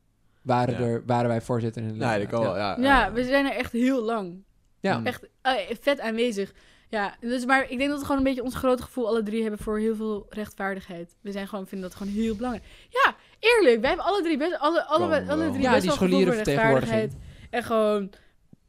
Speaker 3: waren,
Speaker 1: Ja.
Speaker 3: er, waren wij voorzitter in de
Speaker 1: Nee, dat kan wel,
Speaker 3: leerraad.
Speaker 1: ja.
Speaker 2: ja, we zijn er echt heel lang.
Speaker 3: Ja.
Speaker 1: Mm.
Speaker 2: Echt eh, vet aanwezig. Ja, dus, maar ik denk dat we gewoon een beetje ons grote gevoel alle drie hebben voor heel veel rechtvaardigheid. We zijn gewoon, vinden dat gewoon heel belangrijk. Ja, eerlijk, wij hebben alle drie best, alle, alle,
Speaker 1: Komen we
Speaker 2: alle
Speaker 1: wel.
Speaker 2: drie
Speaker 3: Ja,
Speaker 2: best
Speaker 3: die
Speaker 2: wel gevoel voor
Speaker 3: scholierenvertegenwoordiging.
Speaker 2: rechtvaardigheid. En gewoon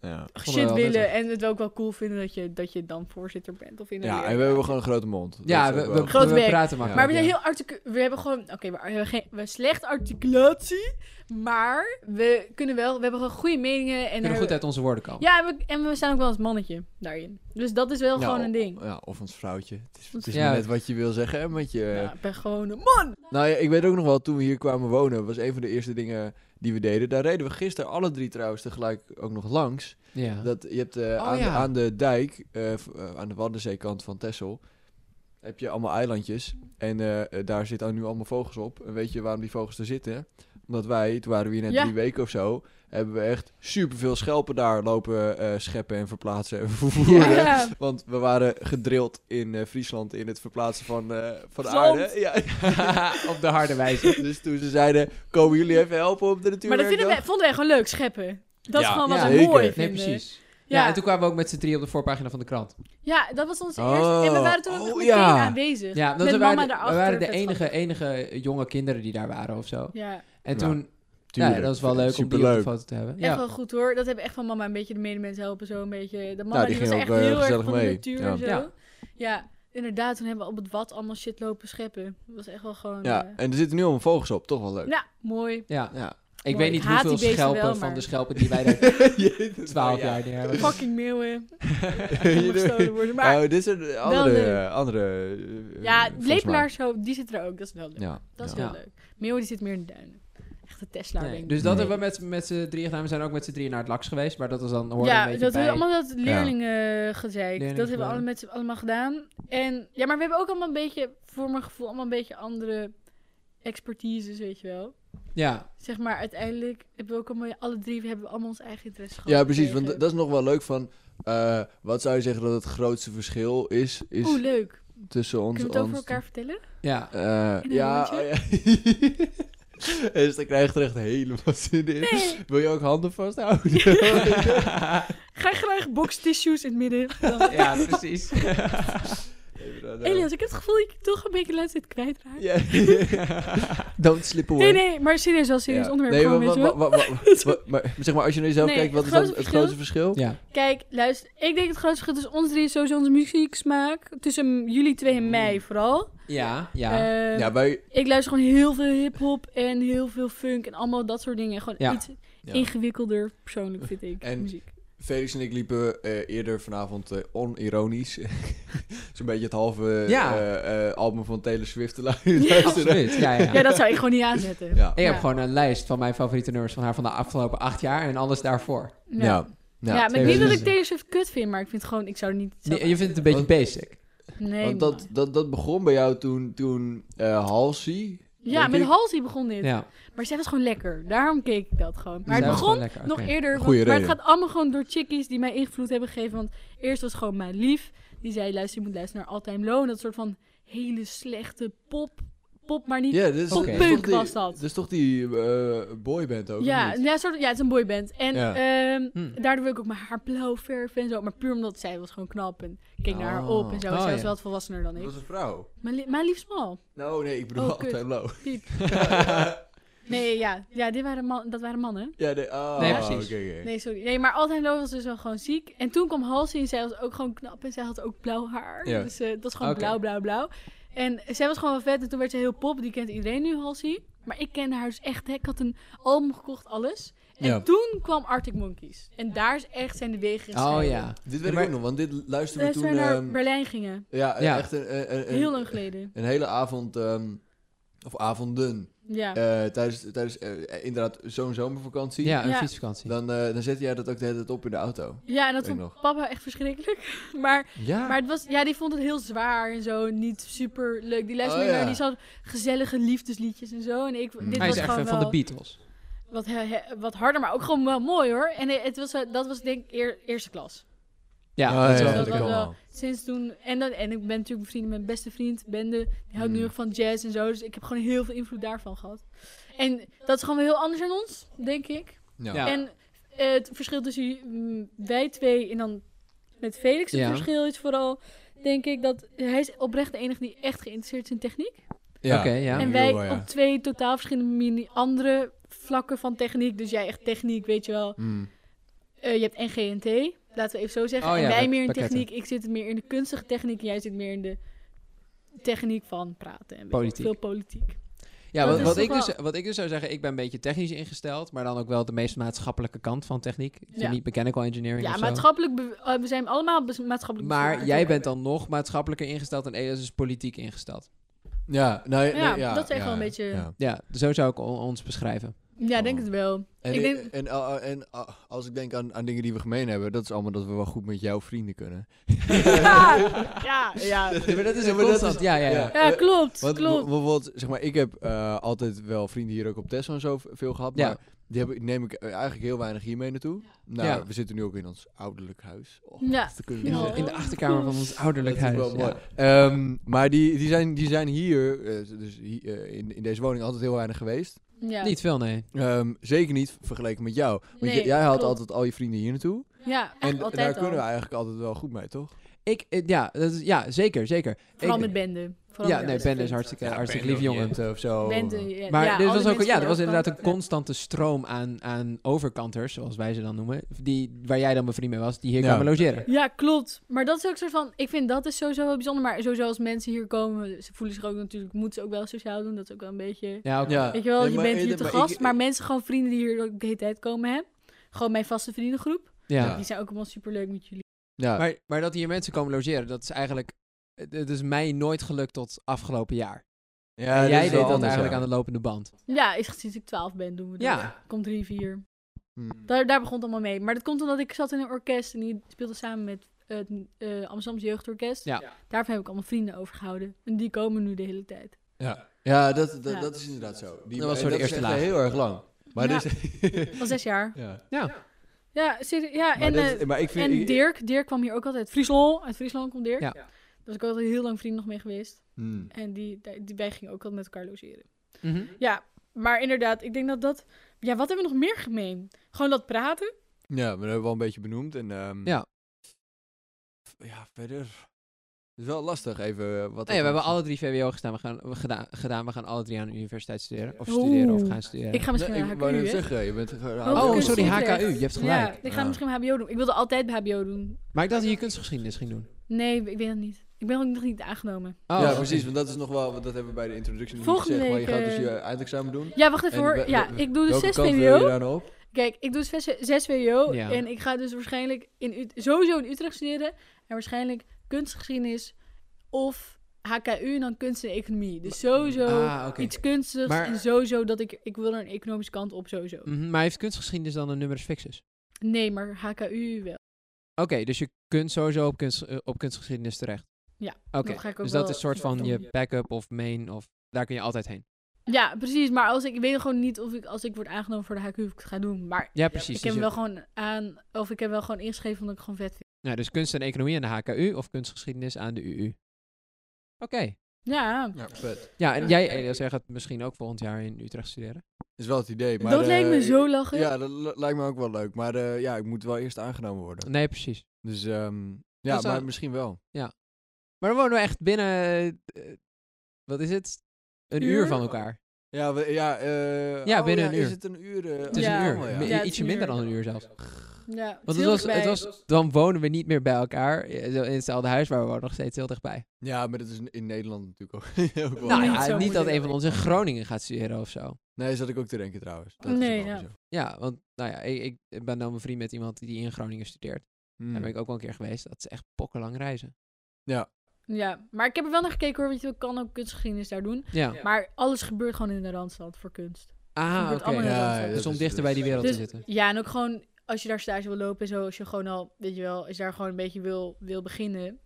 Speaker 1: Ja.
Speaker 3: we
Speaker 2: shit
Speaker 3: wel
Speaker 2: willen
Speaker 3: nuttig.
Speaker 2: en het ook wel cool vinden dat je, dat je dan voorzitter bent. Of in de
Speaker 1: Ja,
Speaker 2: leer.
Speaker 1: en we hebben gewoon een grote mond.
Speaker 3: Ja,
Speaker 1: Dat is
Speaker 3: we,
Speaker 1: ook
Speaker 3: we,
Speaker 1: wel-
Speaker 2: Groot
Speaker 3: we
Speaker 2: werk.
Speaker 3: praten maar.
Speaker 2: Maar we zijn heel articu- We hebben gewoon. Oké, we hebben geen we hebben slechte articulatie. Maar we kunnen wel. We hebben gewoon goede meningen. En
Speaker 3: We kunnen
Speaker 2: daar-
Speaker 3: goed uit onze woorden komen.
Speaker 2: ja, en we, en we staan ook wel als mannetje daarin. Dus dat is wel
Speaker 1: Nou,
Speaker 2: gewoon een ding.
Speaker 1: Ja, of ons vrouwtje. Het is, het is
Speaker 3: Ja.
Speaker 1: maar net wat je wil zeggen en wat je...
Speaker 2: Ja,
Speaker 3: eh,
Speaker 2: ik ben gewoon een man.
Speaker 1: Nou ja, ik weet ook nog wel, toen we hier kwamen wonen, was een van de eerste dingen die we deden. Daar reden we gisteren alle drie trouwens tegelijk ook nog langs.
Speaker 3: Ja.
Speaker 1: Dat, je hebt eh,
Speaker 3: Oh,
Speaker 1: aan, de,
Speaker 3: ja.
Speaker 1: aan de dijk, eh, v- eh, aan de Waddenzeekant van Texel, heb je allemaal eilandjes. En eh, eh, daar zitten nu allemaal vogels op. En weet je waarom die vogels er zitten? Omdat wij, toen waren we hier net
Speaker 2: Ja.
Speaker 1: drie weken of zo, hebben we echt superveel schelpen daar lopen eh, scheppen en verplaatsen en vervoeren.
Speaker 2: Ja.
Speaker 1: Want we waren gedrild in eh, Friesland in het verplaatsen van, eh van
Speaker 2: Zand.
Speaker 1: aarde. Ja,
Speaker 3: op de harde wijze.
Speaker 1: dus toen ze zeiden, komen jullie even helpen op de natuur?
Speaker 2: Maar dat vinden wij, vonden wij gewoon leuk, scheppen. Dat is
Speaker 1: Ja,
Speaker 2: gewoon wat
Speaker 3: ja,
Speaker 2: we mooi
Speaker 1: zeker.
Speaker 2: vinden.
Speaker 3: Nee, precies. Ja.
Speaker 2: Ja.
Speaker 3: en toen kwamen we ook met z'n drie op de voorpagina van de krant.
Speaker 2: Ja, dat was onze
Speaker 1: Oh,
Speaker 2: eerste. En we waren toen ook
Speaker 1: oh,
Speaker 2: meteen
Speaker 1: ja.
Speaker 2: aanwezig.
Speaker 3: Ja, want
Speaker 2: Met
Speaker 3: we,
Speaker 2: mama
Speaker 3: waren, de-
Speaker 2: daarachter,
Speaker 3: we waren de
Speaker 2: vet
Speaker 3: enige,
Speaker 2: grappig.
Speaker 3: enige jonge kinderen die daar waren of zo.
Speaker 2: Ja,
Speaker 3: En
Speaker 1: Nou,
Speaker 3: toen, ja, dat was wel leuk om die op de foto te hebben.
Speaker 2: echt
Speaker 3: Ja.
Speaker 2: wel goed hoor. Dat hebben echt van mama een beetje de medemens helpen zo een beetje. De mama
Speaker 1: Nou, die
Speaker 2: die, was
Speaker 1: ging
Speaker 2: echt
Speaker 1: ook, eh,
Speaker 2: heel erg
Speaker 1: gezellig
Speaker 2: van de
Speaker 1: mee.
Speaker 2: natuur
Speaker 1: Ja.
Speaker 2: en zo.
Speaker 3: Ja.
Speaker 2: Ja. inderdaad. Toen hebben we op het wat allemaal shit lopen scheppen. Dat was echt wel gewoon...
Speaker 1: Ja,
Speaker 2: eh,
Speaker 1: en er zitten nu allemaal vogels op. Toch wel leuk.
Speaker 2: nou, mooi.
Speaker 3: Ja.
Speaker 1: Ja.
Speaker 3: Ik
Speaker 2: Mooi.
Speaker 3: weet niet
Speaker 2: Ik haat die
Speaker 3: hoeveel
Speaker 2: beesten
Speaker 3: schelpen
Speaker 2: wel,
Speaker 3: van
Speaker 2: maar-
Speaker 3: de schelpen die wij daar
Speaker 1: Jezus,
Speaker 3: 12
Speaker 1: ja.
Speaker 3: jaar neer hebben.
Speaker 2: Fucking meeuwen. Allemaal Oh, gestolen worden. Maar
Speaker 1: Nou, dit zijn eh, andere...
Speaker 2: leuk.
Speaker 1: eh, andere eh,
Speaker 2: ja,
Speaker 1: volgens mij.
Speaker 2: lepelaars zo, die zit er ook. Dat is wel leuk.
Speaker 1: Ja.
Speaker 2: Dat is
Speaker 1: ja.
Speaker 2: heel leuk. Meeuwen die zit meer in de duinen. Echt een Tesla,
Speaker 3: Nee,
Speaker 2: denk ik.
Speaker 3: Dus dat
Speaker 1: Nee.
Speaker 3: hebben we met, met z'n drieën gedaan. We zijn ook met z'n drieën naar het laks geweest. Maar dat was dan hoorde een
Speaker 2: ja,
Speaker 3: beetje
Speaker 2: dat
Speaker 3: bij.
Speaker 2: we allemaal dat leerlingengezeik.
Speaker 3: Leerlingen
Speaker 2: eh, dat hebben we
Speaker 3: gedaan.
Speaker 2: alle met z'n- allemaal gedaan. En ja, maar we hebben ook allemaal een beetje, voor mijn gevoel, allemaal een beetje andere expertises, weet je wel.
Speaker 3: Ja,
Speaker 2: Zeg maar, uiteindelijk hebben we ook allemaal, alle drie we hebben allemaal ons eigen interesse gehad.
Speaker 1: Ja, precies. Want
Speaker 2: gekregen.
Speaker 1: dat is nog wel leuk van... eh, wat zou je zeggen dat het grootste verschil is, is
Speaker 2: Oeh, leuk.
Speaker 1: tussen ons...
Speaker 2: Kunnen we het over
Speaker 1: ons-
Speaker 2: elkaar vertellen?
Speaker 3: ja.
Speaker 1: Eh,
Speaker 2: In een
Speaker 1: ja, oh, ja. dus dan krijg je er echt helemaal zin in. Wil je ook handen vasthouden?
Speaker 2: Ga je graag boxtissues in het midden. Dan-
Speaker 3: Ja, precies.
Speaker 1: Even dan, eh,
Speaker 2: Elias, ik heb het gevoel dat ik je toch een beetje de laatste tijd kwijtraak.
Speaker 1: Ja. Don't slip away.
Speaker 2: Nee, nee, maar serieus, wel serieus
Speaker 1: Ja.
Speaker 2: onderwerp.
Speaker 1: Nee,
Speaker 2: gewoon,
Speaker 1: wa-
Speaker 2: weet je
Speaker 1: wa-
Speaker 2: wel.
Speaker 1: wa- wa- wa- wa- maar zeg maar, als je naar jezelf
Speaker 2: Nee,
Speaker 1: kijkt, wat
Speaker 2: het
Speaker 1: is dan
Speaker 2: grootste
Speaker 1: het grootste verschil?
Speaker 3: Ja,
Speaker 2: Kijk, luister. Ik denk het grootste verschil tussen ons drie is sowieso onze muzieksmaak. Tussen jullie twee en mij vooral.
Speaker 3: ja, ja.
Speaker 2: Eh,
Speaker 1: Ja, wij...
Speaker 2: ik luister gewoon heel veel hip-hop en heel veel funk en allemaal dat soort dingen. Gewoon
Speaker 3: Ja.
Speaker 2: iets
Speaker 1: Ja.
Speaker 2: ingewikkelder, persoonlijk vind ik.
Speaker 1: En-
Speaker 2: muziek.
Speaker 1: Felix en ik liepen eh, eerder vanavond eh, onironisch. Zo'n beetje het halve eh,
Speaker 3: Ja.
Speaker 1: eh, eh, album van Taylor Swift te lu- luisteren.
Speaker 3: absoluut. Ja, ja.
Speaker 2: Ja, dat zou ik gewoon niet aanzetten.
Speaker 1: Ja.
Speaker 3: Ik
Speaker 2: Ja.
Speaker 3: heb gewoon een lijst van mijn favoriete nummers van haar van de afgelopen acht jaar en alles daarvoor.
Speaker 1: Ja.
Speaker 2: Ja. Ja,
Speaker 1: twee
Speaker 2: maar niet dat
Speaker 1: verschillen.
Speaker 2: ik Taylor Swift kut vind, maar ik vind gewoon, ik zou er niet... zelf-
Speaker 3: Nee, eh, je vindt het een beetje basic.
Speaker 2: nee,
Speaker 1: Want dat,
Speaker 2: man.
Speaker 1: dat, dat begon bij jou toen, toen eh, Halsey...
Speaker 2: Ja,
Speaker 1: denk
Speaker 2: met
Speaker 1: ik-
Speaker 2: Halsey begon dit.
Speaker 3: Ja.
Speaker 2: Maar zij was gewoon lekker. Daarom keek ik dat gewoon. Maar
Speaker 3: Zij
Speaker 2: het
Speaker 3: was
Speaker 2: begon
Speaker 3: gewoon lekker,
Speaker 2: nog
Speaker 3: oké.
Speaker 2: eerder. want-
Speaker 1: Goeie
Speaker 2: maar het
Speaker 1: reden.
Speaker 2: gaat allemaal gewoon door chickies die mij invloed hebben gegeven. Want eerst was gewoon mijn lief. Die zei, luister, je moet luisteren naar All Time Low. En dat soort van hele slechte pop. Pop, maar niet...
Speaker 1: Ja, dit is,
Speaker 3: Oké.
Speaker 1: dit is
Speaker 2: Punk
Speaker 1: toch die,
Speaker 2: was dat.
Speaker 1: dit is toch die eh, boyband ook?
Speaker 2: ja,
Speaker 1: of niet?
Speaker 2: ja, soort, ja, het is een boyband. En
Speaker 1: Ja.
Speaker 2: ehm,
Speaker 3: Hm.
Speaker 2: daardoor wil ik ook mijn haar blauw verven en zo. Maar puur omdat zij was gewoon knap en ik keek naar haar op en zo.
Speaker 3: Oh.
Speaker 2: en
Speaker 3: Oh,
Speaker 2: zij was
Speaker 3: ja.
Speaker 2: wel wat volwassener dan
Speaker 1: Dat
Speaker 2: ik.
Speaker 1: was een vrouw.
Speaker 2: Mijn, li- mijn lief smal.
Speaker 1: Nou, nee, ik bedoel
Speaker 2: Oh,
Speaker 1: altijd
Speaker 2: kut.
Speaker 1: low.
Speaker 2: Piep. nee, ja. Ja, dit waren man, dat waren mannen.
Speaker 1: Ja, nee, ah,
Speaker 3: Nee,
Speaker 1: oké,
Speaker 3: precies.
Speaker 1: oké.
Speaker 2: Nee, sorry. Nee, maar Altijd Low was dus wel gewoon ziek. En toen kwam Halsey en zij was ook gewoon knap. En zij had ook blauw haar.
Speaker 1: Ja.
Speaker 2: Dus eh dat was gewoon
Speaker 3: Oké.
Speaker 2: blauw, blauw, blauw. En zij was gewoon wel vet. En toen werd ze heel pop. Die kent iedereen nu, Halsey. Maar ik kende haar dus echt. Hè. Ik had een album gekocht, alles. En
Speaker 1: Ja.
Speaker 2: toen kwam Arctic Monkeys. En daar is echt zijn de wegen
Speaker 3: Oh
Speaker 2: gescheiden.
Speaker 3: ja.
Speaker 1: Dit weet
Speaker 3: Ja, maar-
Speaker 1: ik ook nog, want dit luisterden
Speaker 2: Toen
Speaker 1: we toen...
Speaker 2: wij naar
Speaker 1: ehm,
Speaker 2: Berlijn gingen.
Speaker 1: ja,
Speaker 3: Ja.
Speaker 1: echt een, een, een,
Speaker 2: Heel lang geleden.
Speaker 1: een hele avond... ehm, of avonden.
Speaker 2: Ja.
Speaker 1: eh, tijdens tijdens eh, inderdaad zo'n zomervakantie.
Speaker 3: Ja, een
Speaker 2: Ja.
Speaker 3: fietsvakantie.
Speaker 1: Dan, eh, dan zette jij dat ook de hele tijd op in de auto.
Speaker 2: ja, en dat
Speaker 1: weet ik
Speaker 2: vond
Speaker 1: nog.
Speaker 2: papa echt verschrikkelijk. Maar
Speaker 1: Ja.
Speaker 2: Maar het was, ja, die vond het heel zwaar en zo. Niet super leuk. Die luisterde
Speaker 1: Oh,
Speaker 2: meer
Speaker 1: ja.
Speaker 2: naar die zo gezellige liefdesliedjes en zo. En ik,
Speaker 1: Mm.
Speaker 2: dit
Speaker 3: Hij
Speaker 2: was
Speaker 3: is echt
Speaker 2: gewoon
Speaker 3: fan
Speaker 2: wel
Speaker 3: van de Beatles.
Speaker 2: Wat, he- he- wat harder, maar ook gewoon wel mooi hoor. En eh, het was, eh, dat was denk ik eer- eerste klas.
Speaker 3: Ja,
Speaker 1: Oh,
Speaker 3: dat is
Speaker 1: ja,
Speaker 3: wel
Speaker 1: dat
Speaker 2: Dus
Speaker 3: leuk.
Speaker 1: kan
Speaker 2: was
Speaker 1: wel.
Speaker 2: Sinds toen. En, dan, en ik ben natuurlijk bevriend met mijn beste vriend, Bende. Die houdt
Speaker 1: Mm.
Speaker 2: nu ook van jazz en zo. Dus ik heb gewoon heel veel invloed daarvan gehad. En dat is gewoon weer heel anders aan ons, denk ik.
Speaker 1: Ja.
Speaker 3: Ja.
Speaker 2: En eh, het verschil tussen mm, wij twee en dan met Felix, het
Speaker 3: Ja.
Speaker 2: verschil is vooral, denk ik, dat hij is oprecht de enige die echt geïnteresseerd is in techniek.
Speaker 1: Ja.
Speaker 3: Oké, ja.
Speaker 2: en
Speaker 1: heel
Speaker 2: wij
Speaker 1: wel, ja.
Speaker 2: op twee totaal verschillende mini- andere vlakken van techniek. Dus jij echt techniek, weet je wel.
Speaker 1: Mm.
Speaker 2: Eh, je hebt NGNT, laten we even zo zeggen.
Speaker 3: Oh
Speaker 2: en
Speaker 3: ja,
Speaker 2: wij
Speaker 3: met
Speaker 2: meer in
Speaker 3: pakketten.
Speaker 2: techniek. Ik zit meer in de kunstige techniek en jij zit meer in de techniek van praten. En weet ik
Speaker 3: Politiek.
Speaker 2: Veel politiek.
Speaker 3: Ja,
Speaker 2: Dat
Speaker 3: wat,
Speaker 2: is
Speaker 3: wat,
Speaker 2: toch
Speaker 3: ik dus,
Speaker 2: wel-
Speaker 3: wat ik dus zou zeggen, ik ben een beetje technisch ingesteld, maar dan ook wel de meest maatschappelijke kant van techniek. Ik vind
Speaker 2: Ja.
Speaker 3: niet mechanical engineering
Speaker 2: Ja,
Speaker 3: of zo.
Speaker 2: maatschappelijk, be- eh, we zijn allemaal bes- maatschappelijk
Speaker 3: Maar
Speaker 2: bevoorrecht.
Speaker 3: jij bent dan nog maatschappelijker ingesteld en Elias is politiek ingesteld.
Speaker 1: Ja, nou,
Speaker 2: Ja,
Speaker 1: nee, ja,
Speaker 2: dat is echt
Speaker 1: ja,
Speaker 2: wel een beetje-
Speaker 1: ja.
Speaker 3: Ja, zo zou ik on- ons beschrijven.
Speaker 2: Ja, denk het wel.
Speaker 1: En,
Speaker 2: Ik
Speaker 1: ik-
Speaker 2: denk-
Speaker 1: en, eh, en eh, als ik denk aan, aan dingen die we gemeen hebben, dat is allemaal dat we wel goed met jouw vrienden kunnen.
Speaker 2: ja, ja, ja.
Speaker 3: maar dat is
Speaker 1: Ja, maar dat
Speaker 3: een constant.
Speaker 1: is-
Speaker 3: Ja, ja, ja.
Speaker 1: ja.
Speaker 2: Ja,
Speaker 1: Eh,
Speaker 2: klopt,
Speaker 1: Want
Speaker 2: klopt.
Speaker 1: b- bijvoorbeeld, zeg maar, ik heb eh, altijd wel vrienden hier ook op Tesla en zo v- veel gehad,
Speaker 3: Ja.
Speaker 1: maar die heb, ik- neem ik eh, eigenlijk heel weinig hier mee naartoe. Nou,
Speaker 3: Ja.
Speaker 1: we zitten nu ook in ons ouderlijk huis. Oh,
Speaker 2: Ja.
Speaker 1: dat kunnen we
Speaker 3: In
Speaker 1: niet
Speaker 3: de,
Speaker 2: Nou.
Speaker 1: zeggen.
Speaker 3: in de achterkamer van ons ouderlijk
Speaker 1: Dat is
Speaker 3: huis.
Speaker 1: wel mooi.
Speaker 3: ja.
Speaker 1: Ehm, maar die, die, zijn, die zijn hier, eh, dus hi- eh, in, in deze woning, altijd heel weinig geweest.
Speaker 2: ja.
Speaker 3: Niet veel, nee.
Speaker 1: Ehm, zeker niet vergeleken met jou. Want
Speaker 2: Nee,
Speaker 1: j- jij haalt
Speaker 2: klopt.
Speaker 1: altijd al je vrienden hier naartoe.
Speaker 2: Ja, echt
Speaker 1: En d-
Speaker 2: altijd
Speaker 1: daar
Speaker 2: al.
Speaker 1: kunnen we eigenlijk altijd wel goed mee, toch?
Speaker 3: Ik, eh, ja, dat is, ja, zeker, zeker.
Speaker 2: Vooral
Speaker 3: Ik-
Speaker 2: met Bende. Vooral
Speaker 3: Ja,
Speaker 2: met
Speaker 3: nee,
Speaker 2: beste
Speaker 3: Ben is
Speaker 2: vriend.
Speaker 3: hartstikke, hartstikke lief jongen.
Speaker 1: Of zo.
Speaker 2: Bende, ja,
Speaker 3: Maar
Speaker 2: ja,
Speaker 3: dit
Speaker 2: al
Speaker 3: was
Speaker 2: die
Speaker 3: ook, ja,
Speaker 2: mensen
Speaker 3: er was
Speaker 2: die
Speaker 3: inderdaad een
Speaker 2: elkaar-
Speaker 3: constante stroom aan, aan overkanters, zoals wij ze dan noemen, die, waar jij dan bevriend mee was, die hier
Speaker 1: Ja.
Speaker 3: kwamen logeren.
Speaker 2: Ja, klopt. Maar dat is ook soort van... Ik vind dat is sowieso wel bijzonder. Maar sowieso als mensen hier komen... Ze voelen zich ook natuurlijk... Moeten ze ook wel sociaal doen. Dat is ook wel een beetje...
Speaker 3: Ja, eh, ook-
Speaker 1: Ja.
Speaker 2: Weet je wel,
Speaker 1: Nee,
Speaker 2: je
Speaker 1: maar
Speaker 2: bent hier
Speaker 1: eerder-
Speaker 2: te
Speaker 1: maar
Speaker 2: gast.
Speaker 1: ik-
Speaker 2: maar mensen, gewoon vrienden die hier ook de hele tijd komen, hè. Gewoon mijn vaste vriendengroep.
Speaker 3: ja.
Speaker 1: Ja.
Speaker 2: Die zijn ook allemaal superleuk met jullie.
Speaker 1: Ja.
Speaker 3: Maar, maar dat hier mensen komen logeren, dat is eigenlijk. Het het is mij nooit gelukt tot afgelopen jaar.
Speaker 1: ja,
Speaker 3: en
Speaker 1: dat
Speaker 3: jij
Speaker 1: is
Speaker 3: deed
Speaker 1: wel
Speaker 3: dat
Speaker 1: anders,
Speaker 3: eigenlijk
Speaker 1: ja.
Speaker 3: aan de lopende band.
Speaker 2: Ja, is sinds ik 12 ben doen we dat.
Speaker 3: Ja.
Speaker 2: Komt drie, vier.
Speaker 1: Hmm.
Speaker 2: Daar, daar begon het allemaal mee. Maar dat komt omdat ik zat in een orkest en die speelde samen met het eh Amsterdamse Jeugdorkest.
Speaker 3: Ja.
Speaker 2: Daarvan heb ik allemaal vrienden overgehouden. En die komen nu de hele tijd.
Speaker 1: Ja. Ja, dat, dat,
Speaker 2: Ja.
Speaker 1: dat is inderdaad zo. Die,
Speaker 3: Dat was
Speaker 1: en
Speaker 3: zo de
Speaker 1: is
Speaker 3: eerste
Speaker 1: echt
Speaker 3: laag.
Speaker 1: heel erg lang. Maar,
Speaker 2: Ja.
Speaker 1: dit is-
Speaker 2: Al zes jaar.
Speaker 1: ja.
Speaker 2: Ja, serie- ja
Speaker 1: maar,
Speaker 2: en,
Speaker 1: dit-
Speaker 2: eh,
Speaker 1: maar ik vind...
Speaker 2: en
Speaker 1: ik-
Speaker 2: Dirk. Dirk kwam hier ook altijd. Friesland, uit Friesland komt Dirk.
Speaker 3: Ja.
Speaker 2: Daar was ik altijd heel lang vriend nog mee geweest.
Speaker 1: Hmm.
Speaker 2: En die, die, wij gingen ook altijd met elkaar logeren. Ja, maar inderdaad, ik denk dat dat... Ja, wat hebben we nog meer gemeen? Gewoon dat praten.
Speaker 1: Ja, maar dat hebben we al een beetje benoemd. En, ehm,
Speaker 3: Ja.
Speaker 1: Ja, verder... Het is wel lastig even eh, wat...
Speaker 3: Nou ja, we hebben
Speaker 1: alle
Speaker 3: alle drie VWO gestaan. We gaan, we gedaan, gedaan. We gaan alle drie aan de universiteit studeren. Of
Speaker 2: Oeh.
Speaker 3: studeren of gaan studeren.
Speaker 2: Ik ga misschien
Speaker 1: Nee, ik
Speaker 2: naar
Speaker 1: wou
Speaker 2: HKU,
Speaker 1: net
Speaker 2: hè?
Speaker 1: zeggen, je bent...
Speaker 3: Oh,
Speaker 2: Hoogkunst
Speaker 3: sorry,
Speaker 2: Utrecht.
Speaker 3: HKU, je hebt
Speaker 2: Ja,
Speaker 3: gelijk.
Speaker 2: ik ga
Speaker 1: Ah.
Speaker 2: misschien HBO doen. Ik wilde altijd HBO doen.
Speaker 3: Maar ik dacht dat je kunstgeschiedenis ging doen.
Speaker 2: Nee, ik weet het niet. Ik ben ook nog niet aangenomen.
Speaker 3: Oh,
Speaker 1: ja, precies, want dat is nog wel, want dat hebben we bij de introductie nog niet
Speaker 2: Volgende
Speaker 1: gezegd. Maar je
Speaker 2: week,
Speaker 1: gaat dus
Speaker 2: eh,
Speaker 1: je eindexamen doen.
Speaker 2: Ja, wacht even
Speaker 1: En
Speaker 2: hoor.
Speaker 1: we-
Speaker 2: Ja,
Speaker 1: we-
Speaker 2: ik doe dus
Speaker 1: Welke
Speaker 2: 6
Speaker 1: kant wil je
Speaker 2: VWO.
Speaker 1: daar nou op?
Speaker 2: Kijk, ik doe dus 6, 6 VWO.
Speaker 3: Ja.
Speaker 2: En ik ga dus waarschijnlijk in, Ut- sowieso in Utrecht studeren. En waarschijnlijk kunstgeschiedenis of HKU en dan kunst en economie. Dus sowieso
Speaker 3: Ah, oké.
Speaker 2: iets kunstigs
Speaker 3: Maar-
Speaker 2: en sowieso dat ik... Ik wil er een economische kant op sowieso.
Speaker 3: Mhm, Maar heeft kunstgeschiedenis dan een numerus fixus?
Speaker 2: Nee, maar HKU wel.
Speaker 3: Oké, dus je kunt sowieso op, kunst, eh, op kunstgeschiedenis terecht.
Speaker 2: Ja,
Speaker 3: Oké,
Speaker 2: dat ga ik ook
Speaker 3: dus dat
Speaker 2: wel-
Speaker 3: is soort van je backup of main of... Daar kun je altijd heen.
Speaker 2: Ja, precies. Maar als ik, ik weet gewoon niet of ik als ik word aangenomen voor de HKU of ik het ga doen. Maar
Speaker 3: Ja, precies.
Speaker 2: ik heb
Speaker 3: dus,
Speaker 2: hem
Speaker 3: je-
Speaker 2: wel gewoon aan... Of ik heb wel gewoon ingeschreven omdat ik het gewoon vet vind.
Speaker 3: ja, dus kunst en economie aan de HKU of kunstgeschiedenis aan de UU. Oké.
Speaker 2: Ja,
Speaker 1: Ja, vet.
Speaker 3: Ja, en
Speaker 2: Ja.
Speaker 3: jij Elias, jij gaat misschien ook volgend jaar in Utrecht studeren.
Speaker 1: Is wel het idee, maar...
Speaker 2: dat
Speaker 1: eh,
Speaker 2: leek me
Speaker 1: ik-
Speaker 2: zo lachen.
Speaker 1: Ja, dat li- lijkt me ook wel leuk. Maar eh, ja, ik moet wel eerst aangenomen worden.
Speaker 3: Nee, precies.
Speaker 1: Dus ehm, ja,
Speaker 3: Dat zou-
Speaker 1: maar misschien wel.
Speaker 3: Maar dan wonen we echt binnen... eh, wat is het? Een uur,
Speaker 2: Uur?
Speaker 3: van elkaar.
Speaker 1: Ja, we, ja, eh,
Speaker 3: Ja,
Speaker 1: oh
Speaker 3: binnen een uur.
Speaker 1: Is het een uur? eh,
Speaker 3: Het is
Speaker 2: Ja.
Speaker 3: een
Speaker 1: oh,
Speaker 3: uur.
Speaker 1: ja.
Speaker 3: Mi-
Speaker 2: Ja, het is
Speaker 3: Ietsje
Speaker 2: een
Speaker 3: minder
Speaker 2: uur.
Speaker 3: dan een uur zelfs.
Speaker 2: Ja,
Speaker 3: Want het
Speaker 2: heel
Speaker 3: was,
Speaker 2: dichtbij.
Speaker 3: het was, dan wonen we niet meer bij elkaar. eh, zo In hetzelfde huis, maar we wonen nog steeds heel dichtbij.
Speaker 1: Ja, maar dat is in- in Nederland natuurlijk ook. ook wel.
Speaker 3: Nou
Speaker 2: niet
Speaker 3: ja,
Speaker 2: zo
Speaker 3: niet dat
Speaker 2: moeilijk.
Speaker 3: een van ons in Groningen gaat studeren of zo.
Speaker 1: Nee, zat ik ook te denken trouwens. Dat is
Speaker 2: Nee,
Speaker 1: ook wel
Speaker 2: ja.
Speaker 1: zo.
Speaker 3: Ja, want nou ja, ik, ik ben dan bevriend met iemand die in Groningen studeert.
Speaker 1: Hmm.
Speaker 3: Daar ben ik ook wel een keer geweest. Dat is echt pokkenlang reizen.
Speaker 2: Ja, maar ik heb er wel naar gekeken hoor, want je kan ook kunstgeschiedenis daar doen.
Speaker 3: Ja.
Speaker 2: Maar alles gebeurt gewoon in de Randstad voor kunst.
Speaker 3: Ah,
Speaker 2: gebeurt
Speaker 3: oké.
Speaker 2: allemaal in de
Speaker 1: Ja, ja,
Speaker 2: Randstad.
Speaker 3: Dus
Speaker 1: dat
Speaker 3: om
Speaker 1: is-
Speaker 3: dichter
Speaker 1: dat
Speaker 3: bij die
Speaker 1: is-
Speaker 3: wereld
Speaker 2: Dus-
Speaker 3: te zitten.
Speaker 2: Ja, en ook gewoon als je daar stage wil lopen en zo, als je gewoon al, weet je wel, als je daar gewoon een beetje wil, wil beginnen,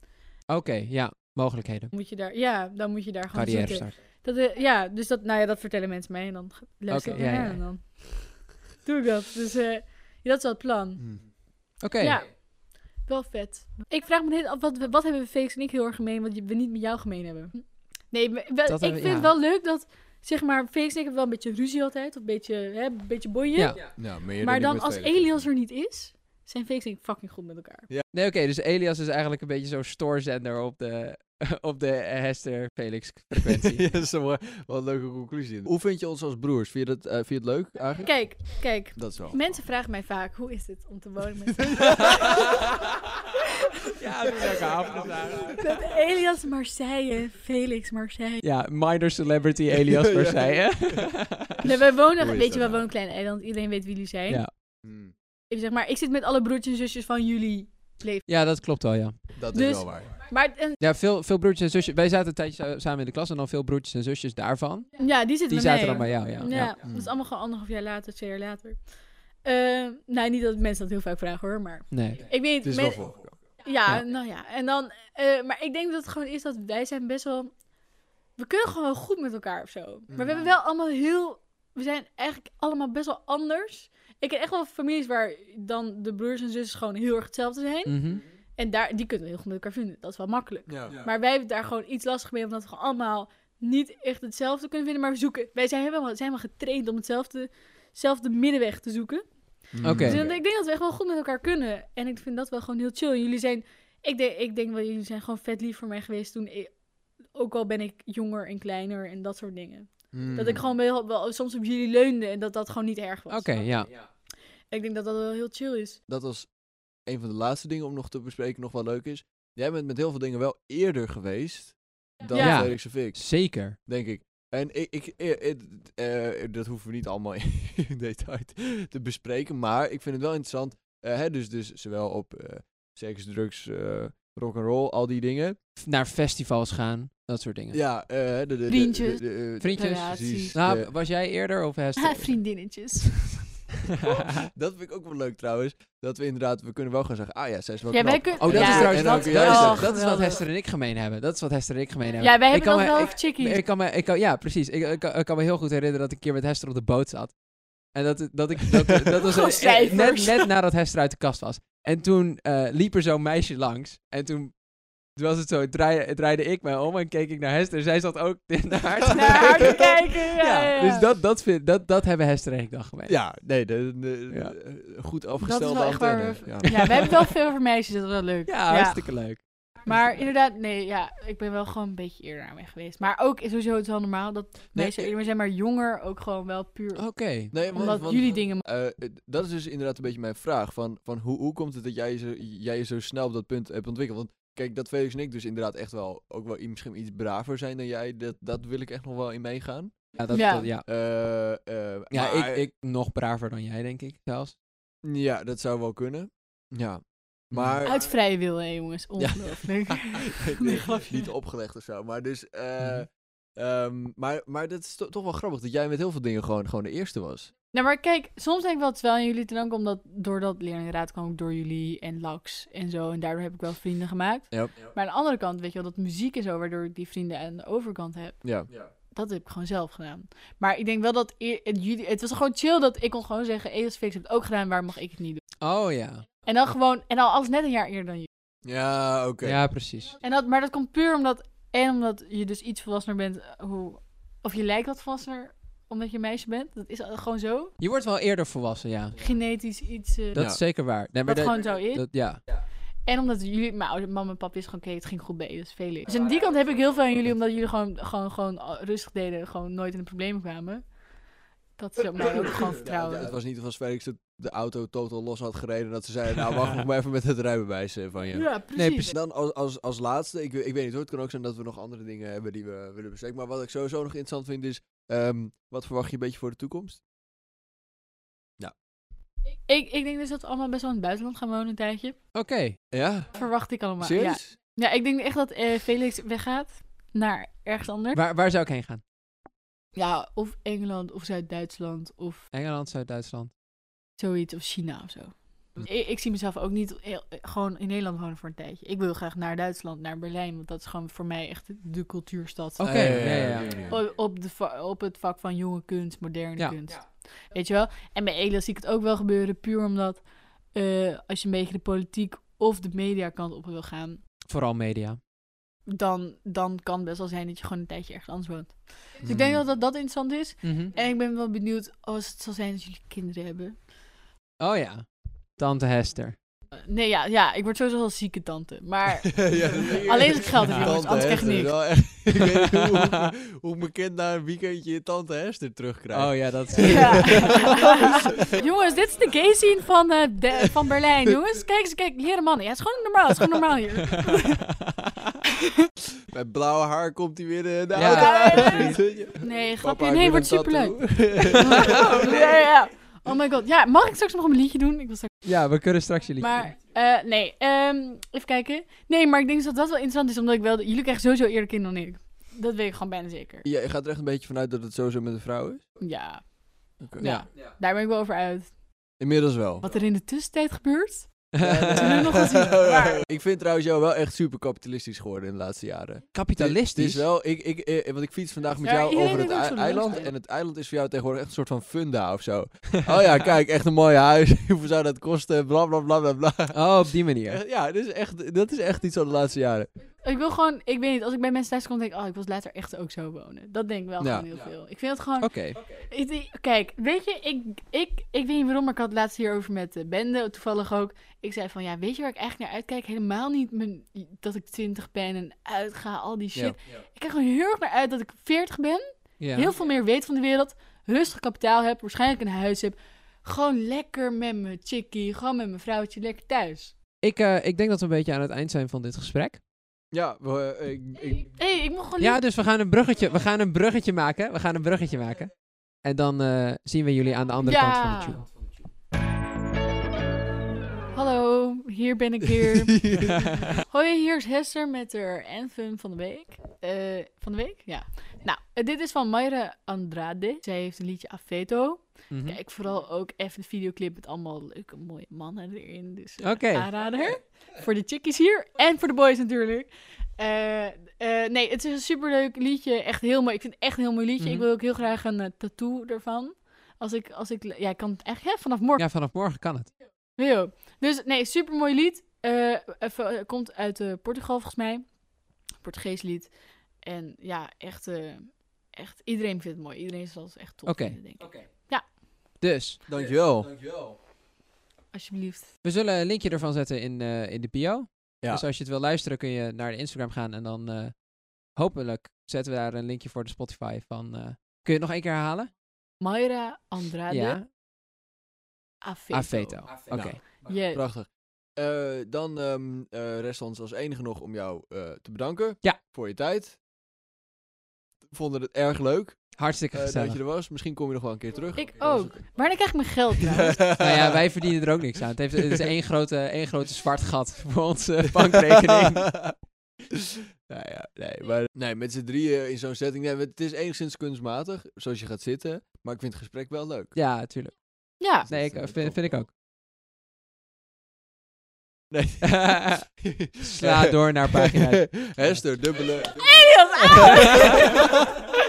Speaker 3: Oké, ja. Mogelijkheden.
Speaker 2: moet je daar, ja, dan moet je daar gewoon
Speaker 3: Carrière
Speaker 2: zitten.
Speaker 3: start.
Speaker 2: Dat, eh, ja, dus dat, nou ja, dat vertellen mensen mij en dan ge- luister ik
Speaker 3: Oké, ja,
Speaker 2: naar
Speaker 3: ja.
Speaker 2: en dan doe ik dat. Dus eh, ja, dat is wel het plan.
Speaker 1: Hmm.
Speaker 3: Oké.
Speaker 2: Ja, wel vet. Ik vraag me net af, wat, wat hebben Felix en ik heel erg gemeen, wat je- we niet met jou gemeen hebben? Nee, we- we-
Speaker 3: Dat
Speaker 2: ik
Speaker 3: hebben we-
Speaker 2: vind
Speaker 3: ja.
Speaker 2: het wel leuk dat, zeg maar, Felix en ik hebben wel een beetje ruzie altijd, of een beetje, hè, een beetje boeien.
Speaker 3: Ja.
Speaker 1: Nou, meer
Speaker 2: maar
Speaker 1: ik
Speaker 2: dan
Speaker 1: met
Speaker 2: als
Speaker 1: Felix.
Speaker 2: Elias er niet is, zijn Felix en ik fucking goed met elkaar.
Speaker 3: Nee, oké. dus Elias is eigenlijk een beetje zo'n stoorzender op de, op de Hester-Felix-frequentie.
Speaker 1: ja, dat is wel, wel een leuke conclusie. Hoe vind je ons als broers? Vind je, dat, eh, vind je het leuk eigenlijk?
Speaker 2: Kijk, kijk.
Speaker 1: Dat is wel.
Speaker 2: Mensen vragen mij vaak, hoe is het om te wonen met
Speaker 3: ja, dat is elke avond. is eigenlijk.
Speaker 2: met Elias Marseille en Felix Marseille?
Speaker 3: Ja, minor celebrity Elias
Speaker 1: Ja, ja.
Speaker 3: Marseille.
Speaker 2: Nee, wij wonen,
Speaker 1: Hoe is
Speaker 2: weet je,
Speaker 1: dat nou?
Speaker 2: wij wonen op een klein eiland, iedereen weet wie jullie zijn.
Speaker 3: ja.
Speaker 1: Hmm.
Speaker 2: Ik zeg maar, ik zit met alle broertjes en zusjes van jullie.
Speaker 3: ja, dat klopt wel, ja.
Speaker 1: Dat is
Speaker 2: Dus-
Speaker 1: wel waar.
Speaker 2: Maar en,
Speaker 3: Ja, veel, veel broertjes en zusjes. Wij zaten een tijdje sa- samen in de klas en dan veel broertjes en zusjes daarvan.
Speaker 2: ja, die zitten
Speaker 3: Die
Speaker 2: bij
Speaker 3: zaten
Speaker 2: mij.
Speaker 3: dan bij jou, ja.
Speaker 2: Ja,
Speaker 3: ja.
Speaker 1: Mm.
Speaker 2: dat is allemaal gewoon anderhalf jaar later, twee jaar later. Eh, nou, niet dat mensen dat heel vaak vragen hoor, maar
Speaker 3: Nee.
Speaker 2: ik weet
Speaker 1: Het is
Speaker 2: men-
Speaker 1: wel voor.
Speaker 2: ja,
Speaker 3: Ja.
Speaker 2: nou ja. En dan, eh, maar ik denk dat het gewoon is dat wij zijn best wel, we kunnen gewoon goed met elkaar of zo. Maar we
Speaker 1: Mm.
Speaker 2: hebben wel allemaal heel, we zijn eigenlijk allemaal best wel anders. Ik ken echt wel families waar dan de broers en zussen gewoon heel erg hetzelfde zijn.
Speaker 1: Mm.
Speaker 3: Mhm.
Speaker 2: En daar, die kunnen we heel goed met elkaar vinden. Dat is wel makkelijk.
Speaker 1: Ja.
Speaker 2: Maar wij hebben daar gewoon iets lastig mee, omdat we gewoon allemaal niet echt hetzelfde kunnen vinden. Maar we zoeken, wij zijn helemaal, zijn helemaal getraind om hetzelfde, hetzelfde middenweg te zoeken.
Speaker 1: Hmm.
Speaker 3: Oké.
Speaker 2: Dus dan- ik denk dat we echt wel goed met elkaar kunnen. En ik vind dat wel gewoon heel chill. Jullie zijn, ik denk, ik denk wel, jullie zijn gewoon vet lief voor mij geweest toen ik- ook al ben ik jonger en kleiner en dat soort dingen.
Speaker 1: Hmm.
Speaker 2: Dat ik gewoon wel, wel soms op jullie leunde en dat dat gewoon niet erg was.
Speaker 3: Oké, ja.
Speaker 2: Ik denk dat dat wel heel chill is.
Speaker 1: dat was een van de laatste dingen om nog te bespreken, nog wel leuk is. Jij bent met heel veel dingen wel eerder geweest dan
Speaker 3: Ja.
Speaker 1: Felix of ik,
Speaker 3: Zeker.
Speaker 1: denk ik. En ik, ik, eh, eh, eh, eh, dat hoeven we niet allemaal in detail te bespreken, maar ik vind het wel interessant. eh, hè, dus, dus zowel op eh seks, drugs, eh rock and roll, al die dingen.
Speaker 3: F- Naar festivals gaan, dat soort dingen.
Speaker 1: Ja, eh, de, de, de-
Speaker 2: Vriendjes.
Speaker 1: de- eh, de- de-
Speaker 3: Vriendjes.
Speaker 1: precies.
Speaker 2: Relaties.
Speaker 3: Nou,
Speaker 1: De-
Speaker 3: was jij eerder of Hester?
Speaker 2: vriendinnetjes.
Speaker 1: dat vind ik ook wel leuk trouwens. Dat we inderdaad, we kunnen wel gaan zeggen, ah ja, zij is wel
Speaker 2: Ja,
Speaker 1: knap.
Speaker 2: wij kunnen...
Speaker 3: Oh, dat
Speaker 2: ja.
Speaker 3: is trouwens
Speaker 1: En dan
Speaker 3: dat,
Speaker 1: kun
Speaker 3: dat,
Speaker 1: jij
Speaker 3: is-
Speaker 1: zeggen.
Speaker 3: dat is wat
Speaker 2: geweldig.
Speaker 3: Hester en ik gemeen hebben. Dat is wat Hester en ik gemeen hebben.
Speaker 2: Ja, wij
Speaker 3: Ik
Speaker 2: hebben
Speaker 3: kan
Speaker 2: dat
Speaker 3: me-
Speaker 2: wel
Speaker 3: ik-
Speaker 2: over chickies.
Speaker 3: Ik kan me, ik kan, ja, precies. Ik, ik, kan- ik kan me heel goed herinneren dat ik een keer met Hester op de boot zat. En dat, dat ik. Dat, dat was
Speaker 2: Gewoon
Speaker 3: eh, net,
Speaker 2: cijfers.
Speaker 3: net nadat Hester uit de kast was. En toen eh, liep er zo'n meisje langs. En toen was het zo, draaide, draaide ik mij om en keek ik naar Hester. Zij zat ook naar haar te
Speaker 2: Naar haar te kijken, ja, ja, ja.
Speaker 3: Dus dat, dat, vind, dat, dat hebben Hester en ik dan gemeen.
Speaker 1: Ja, nee, de, de-
Speaker 3: Ja.
Speaker 1: de- goed
Speaker 2: Dat is
Speaker 1: afgestelde
Speaker 2: wel echt waar.
Speaker 1: antenne.
Speaker 2: we-
Speaker 1: Ja.
Speaker 2: Ja, we hebben het wel veel over meisjes, dat is wel leuk.
Speaker 3: Ja, hartstikke leuk.
Speaker 2: Maar inderdaad, nee, ja, ik ben wel gewoon een beetje eerder aan mij geweest. Maar ook is sowieso het wel normaal dat meisjes
Speaker 1: ik-
Speaker 2: eerder zijn, maar jonger ook gewoon wel puur.
Speaker 3: Oké.
Speaker 1: Nee, want,
Speaker 2: omdat
Speaker 1: want-
Speaker 2: jullie dingen.
Speaker 1: eh, dat is dus inderdaad een beetje mijn vraag. Van, van hoe, hoe komt het dat jij, je zo, jij je zo snel op dat punt hebt ontwikkeld? Want kijk, dat Felix en ik dus inderdaad echt wel ook wel i- misschien iets braver zijn dan jij. Dat, dat wil ik echt nog wel in meegaan.
Speaker 3: Ja, dat,
Speaker 2: Ja.
Speaker 3: dat- ja.
Speaker 1: Eh, eh,
Speaker 3: ja
Speaker 1: maar-
Speaker 3: ik, ik nog braver dan jij, denk ik zelfs.
Speaker 1: ja, dat zou wel kunnen. Ja. Maar
Speaker 2: Uit vrije wil, hè, jongens. Ongelooflijk. Nee, grapje.
Speaker 1: niet opgelegd of zo. Maar dus. eh,
Speaker 3: Mhm.
Speaker 1: ehm, maar, maar dat is to- toch wel grappig dat jij met heel veel dingen gewoon, gewoon de eerste was.
Speaker 2: Nou, maar kijk, soms denk ik wel het is wel aan jullie te danken, omdat door dat leerlingenraad kwam ook door jullie en Lax en zo. En daardoor heb ik wel vrienden gemaakt.
Speaker 1: Ja.
Speaker 2: Maar aan de andere kant, weet je wel, dat muziek en zo, waardoor ik die vrienden aan de overkant heb.
Speaker 1: Ja.
Speaker 2: Dat heb ik gewoon zelf gedaan. Maar ik denk wel dat eer- het, jullie, het was gewoon chill dat ik kon gewoon zeggen, Elias Fix heeft het ook gedaan, waarom mag ik het niet doen?
Speaker 3: Oh ja.
Speaker 2: En dan gewoon, en al alles net een jaar eerder dan jullie.
Speaker 1: Ja, oké.
Speaker 3: Ja, precies.
Speaker 2: En dat, maar dat komt puur omdat, en omdat je dus iets volwassener bent, eh, hoe, of je lijkt wat volwassener omdat je een meisje bent. Dat is al- gewoon zo.
Speaker 3: Je wordt wel eerder volwassen, ja.
Speaker 2: Genetisch iets, eh,
Speaker 3: Dat
Speaker 1: Ja.
Speaker 3: is zeker waar. Nee, maar
Speaker 2: wat
Speaker 3: dat-
Speaker 2: gewoon zo is.
Speaker 3: dat, ja.
Speaker 2: En omdat jullie, mijn oude mama en papa is gewoon, oké, het ging goed bij dus Felix. Dus aan die kant heb ik heel veel aan jullie, omdat jullie gewoon, gewoon, gewoon al- rustig deden, gewoon nooit in de problemen kwamen. Dat is ook- maar ook gewoon vertrouwen.
Speaker 1: het was niet of als Felix de, de auto totaal los had gereden. Dat ze zeiden, nou wacht nog maar even met het rijbewijs eh, van je.
Speaker 2: precies.
Speaker 3: precies.
Speaker 1: Dan als, als, als laatste, ik, ik weet niet hoor, het kan ook zijn dat we nog andere dingen hebben die we willen bespreken. Maar wat ik sowieso nog interessant vind is, ehm, wat verwacht je een beetje voor de toekomst?
Speaker 2: Ik, ik denk dus dat we allemaal best wel in het buitenland gaan wonen een tijdje.
Speaker 3: Oké.
Speaker 1: Ja?
Speaker 2: Verwacht ik allemaal. Ja.
Speaker 1: Serieus?
Speaker 2: ja, ik denk echt dat eh, Felix weggaat naar ergens anders.
Speaker 3: Waar, waar zou ik heen gaan?
Speaker 2: Ja, of Engeland of Zuid-Duitsland of
Speaker 3: Engeland, Zuid-Duitsland.
Speaker 2: zoiets. Of China of zo.
Speaker 3: Hm.
Speaker 2: Ik, ik zie mezelf ook niet heel- eh, gewoon in Nederland wonen voor een tijdje. Ik wil graag naar Duitsland, naar Berlijn. Want dat is gewoon voor mij echt de cultuurstad.
Speaker 3: Oké,
Speaker 1: Eh,
Speaker 3: ja, ja, ja.
Speaker 2: O- Op, de va- op het vak van jonge kunst, moderne
Speaker 3: Ja.
Speaker 2: kunst. Weet je wel? En bij Elia zie ik het ook wel gebeuren. Puur omdat eh, als je een beetje de politiek of de mediakant op wil gaan...
Speaker 3: Vooral media.
Speaker 2: Dan, dan kan het best wel zijn dat je gewoon een tijdje ergens anders woont. Dus
Speaker 1: Mm.
Speaker 2: ik denk dat, dat dat interessant is.
Speaker 3: Mhm.
Speaker 2: En ik ben wel benieuwd als het zal zijn dat jullie kinderen hebben.
Speaker 3: Oh ja. Tante Hester.
Speaker 2: Eh, nee, ja, ja, ik word sowieso wel zieke tante. Maar
Speaker 1: Ja.
Speaker 2: Alleen als het geld is,
Speaker 1: Ja.
Speaker 2: jongens,
Speaker 1: Tante
Speaker 2: anders krijg je
Speaker 1: Hester,
Speaker 2: niks.
Speaker 1: wel echt- ik weet niet hoe, hoe, hoe mijn kind na een weekendje Tante Hester terugkrijgt.
Speaker 3: Oh ja, dat is...
Speaker 2: Ja. jongens, dit is de gay scene van, eh, de- van Berlijn. Jongens, kijk eens, kijk, leren mannen. Ja, het is gewoon normaal, het is gewoon normaal hier.
Speaker 1: Met blauwe haar komt hij weer eh, de
Speaker 3: Ja.
Speaker 1: auto
Speaker 2: Ja,
Speaker 1: uit.
Speaker 2: Nee,
Speaker 1: Papa,
Speaker 2: grapje.
Speaker 1: ik
Speaker 2: Nee,
Speaker 1: wil
Speaker 2: wordt
Speaker 1: een tattoo.
Speaker 2: superleuk. ja, ja. Oh my god. Ja, mag ik straks nog een liedje doen? Ik wil straks...
Speaker 3: ja, we kunnen straks jullie...
Speaker 2: Maar, eh, nee. ehm, even kijken. Nee, maar ik denk dus dat dat wel interessant is, omdat ik wel... Jullie krijgen sowieso eerder kinderen dan ik. Dat weet ik gewoon bijna zeker.
Speaker 1: Ja, je gaat er echt een beetje vanuit dat het sowieso met een vrouw is?
Speaker 2: Ja,
Speaker 1: Oké.
Speaker 2: ja. Daar ben ik wel over uit.
Speaker 1: Inmiddels wel.
Speaker 2: Wat er in de tussentijd gebeurt?
Speaker 1: Ja,
Speaker 2: we nog wel zien. Maar-
Speaker 1: Ik vind trouwens jou wel echt super kapitalistisch geworden in de laatste jaren. Het
Speaker 3: Kapitalistisch.
Speaker 1: is wel, ik, ik, eh, want ik fiets vandaag met
Speaker 2: Ja,
Speaker 1: jou
Speaker 2: iedereen
Speaker 1: over het
Speaker 2: heeft ook
Speaker 1: ei-
Speaker 2: zo'n
Speaker 1: eiland.
Speaker 2: lifestyle.
Speaker 1: En het eiland is voor jou tegenwoordig echt een soort van funda of zo. Oh ja, kijk, echt een mooi huis. Hoeveel zou dat kosten? Bla bla bla bla bla.
Speaker 3: Oh, op die manier.
Speaker 1: Echt, Ja, dit is echt, dat is echt iets van de laatste jaren.
Speaker 2: Ik wil gewoon, ik weet niet, als ik bij mensen thuis kom, denk ik, oh, ik wil later echt ook zo wonen. Dat denk ik wel
Speaker 1: Ja.
Speaker 2: gewoon heel veel. Ik vind het gewoon,
Speaker 3: Oké.
Speaker 2: ik denk- kijk, weet je, ik, ik, ik weet niet waarom, maar ik had het laatst hierover met eh, Bende, toevallig ook. Ik zei van, ja, weet je waar ik eigenlijk naar uitkijk? Helemaal niet mijn, dat ik 20 ben en uitga, al die shit. Ik kijk gewoon heel erg naar uit dat ik 40 ben,
Speaker 3: Ja.
Speaker 2: heel veel meer weet van de wereld, rustig kapitaal heb, waarschijnlijk een huis heb. Gewoon lekker met mijn chickie, gewoon met mijn vrouwtje, lekker thuis.
Speaker 3: Ik, eh, ik denk dat we een beetje aan het eind zijn van dit gesprek.
Speaker 1: Ja, we, eh, ik, ik,
Speaker 2: Hé, hey, ik mocht gewoon
Speaker 3: Ja, dus we gaan een bruggetje, we gaan een bruggetje maken. We gaan een bruggetje maken. En dan eh, zien we jullie aan de andere
Speaker 2: Ja.
Speaker 3: kant van de tube.
Speaker 2: Hallo, hier ben ik weer. Hoi, hier is Hester met haar Anthem van de week. eh, van de week? Ja. Nou, eh, dit is van Mayra Andrade. Zij heeft een liedje Afeto.
Speaker 3: Mhm.
Speaker 2: Kijk vooral ook even de videoclip met allemaal leuke mooie mannen erin. Dus eh,
Speaker 3: Oké.
Speaker 2: aanrader. Voor de chickies hier en voor de boys natuurlijk. Eh, eh, nee, het is een superleuk liedje. Echt heel mooi. Ik vind het echt een heel mooi liedje.
Speaker 3: Mhm.
Speaker 2: Ik wil ook heel graag een eh, tattoo ervan. Als ik, als ik, ja, ik kan het echt hè, vanaf morgen.
Speaker 3: Ja, vanaf morgen kan het.
Speaker 2: Heel. Dus nee, supermooi lied. Eh, even, eh, komt uit eh, Portugal volgens mij. Portugees lied. En ja, echt, eh, echt iedereen vindt het mooi. Iedereen zal het echt tof
Speaker 3: Oké.
Speaker 2: vinden, denk ik.
Speaker 3: Dus,
Speaker 1: Dankjewel.
Speaker 2: Alsjeblieft.
Speaker 3: we zullen een linkje ervan zetten in, eh, in de bio.
Speaker 1: Ja.
Speaker 3: Dus als je het wil luisteren, kun je naar de Instagram gaan. En dan eh, hopelijk zetten we daar een linkje voor de Spotify van... eh, kun je het nog één keer herhalen?
Speaker 2: Mayra Andrade
Speaker 3: ja,
Speaker 2: Afeto.
Speaker 3: Afeto. Oké.
Speaker 2: Yes.
Speaker 1: Prachtig. Eh, dan ehm, eh, rest ons als enige nog om jou eh, te bedanken
Speaker 3: Ja.
Speaker 1: voor je tijd. We vonden het erg leuk
Speaker 3: Hartstikke
Speaker 1: eh,
Speaker 3: gezellig.
Speaker 1: dat je er was. Misschien kom je nog wel een keer terug.
Speaker 2: Ik
Speaker 1: Als
Speaker 2: ook. Wanneer krijg ik mijn geld trouwens?
Speaker 1: het-
Speaker 3: Nou ja, wij verdienen er ook niks aan. Het, heeft, het is één, grote, één grote zwart gat voor onze bankrekening.
Speaker 1: nou ja, nee, maar, nee, met z'n drieën in zo'n setting. Nee, het is enigszins kunstmatig, zoals je gaat zitten. Maar ik vind het gesprek wel leuk.
Speaker 3: Ja, tuurlijk.
Speaker 2: Ja.
Speaker 3: Nee, ik,
Speaker 1: Dat, eh,
Speaker 3: vind, vind ik ook.
Speaker 1: Nee.
Speaker 3: Sla door naar pagina.
Speaker 1: Hester, dubbele.
Speaker 2: Elias, ah!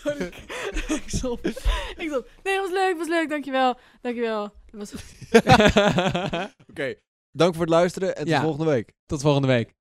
Speaker 2: Sorry. ik stop. Ik stop. Nee, het was leuk, het was leuk. Dankjewel. Dankjewel. Het was
Speaker 1: Oké, dank voor het luisteren en tot
Speaker 3: Ja.
Speaker 1: volgende week.
Speaker 3: Tot volgende week.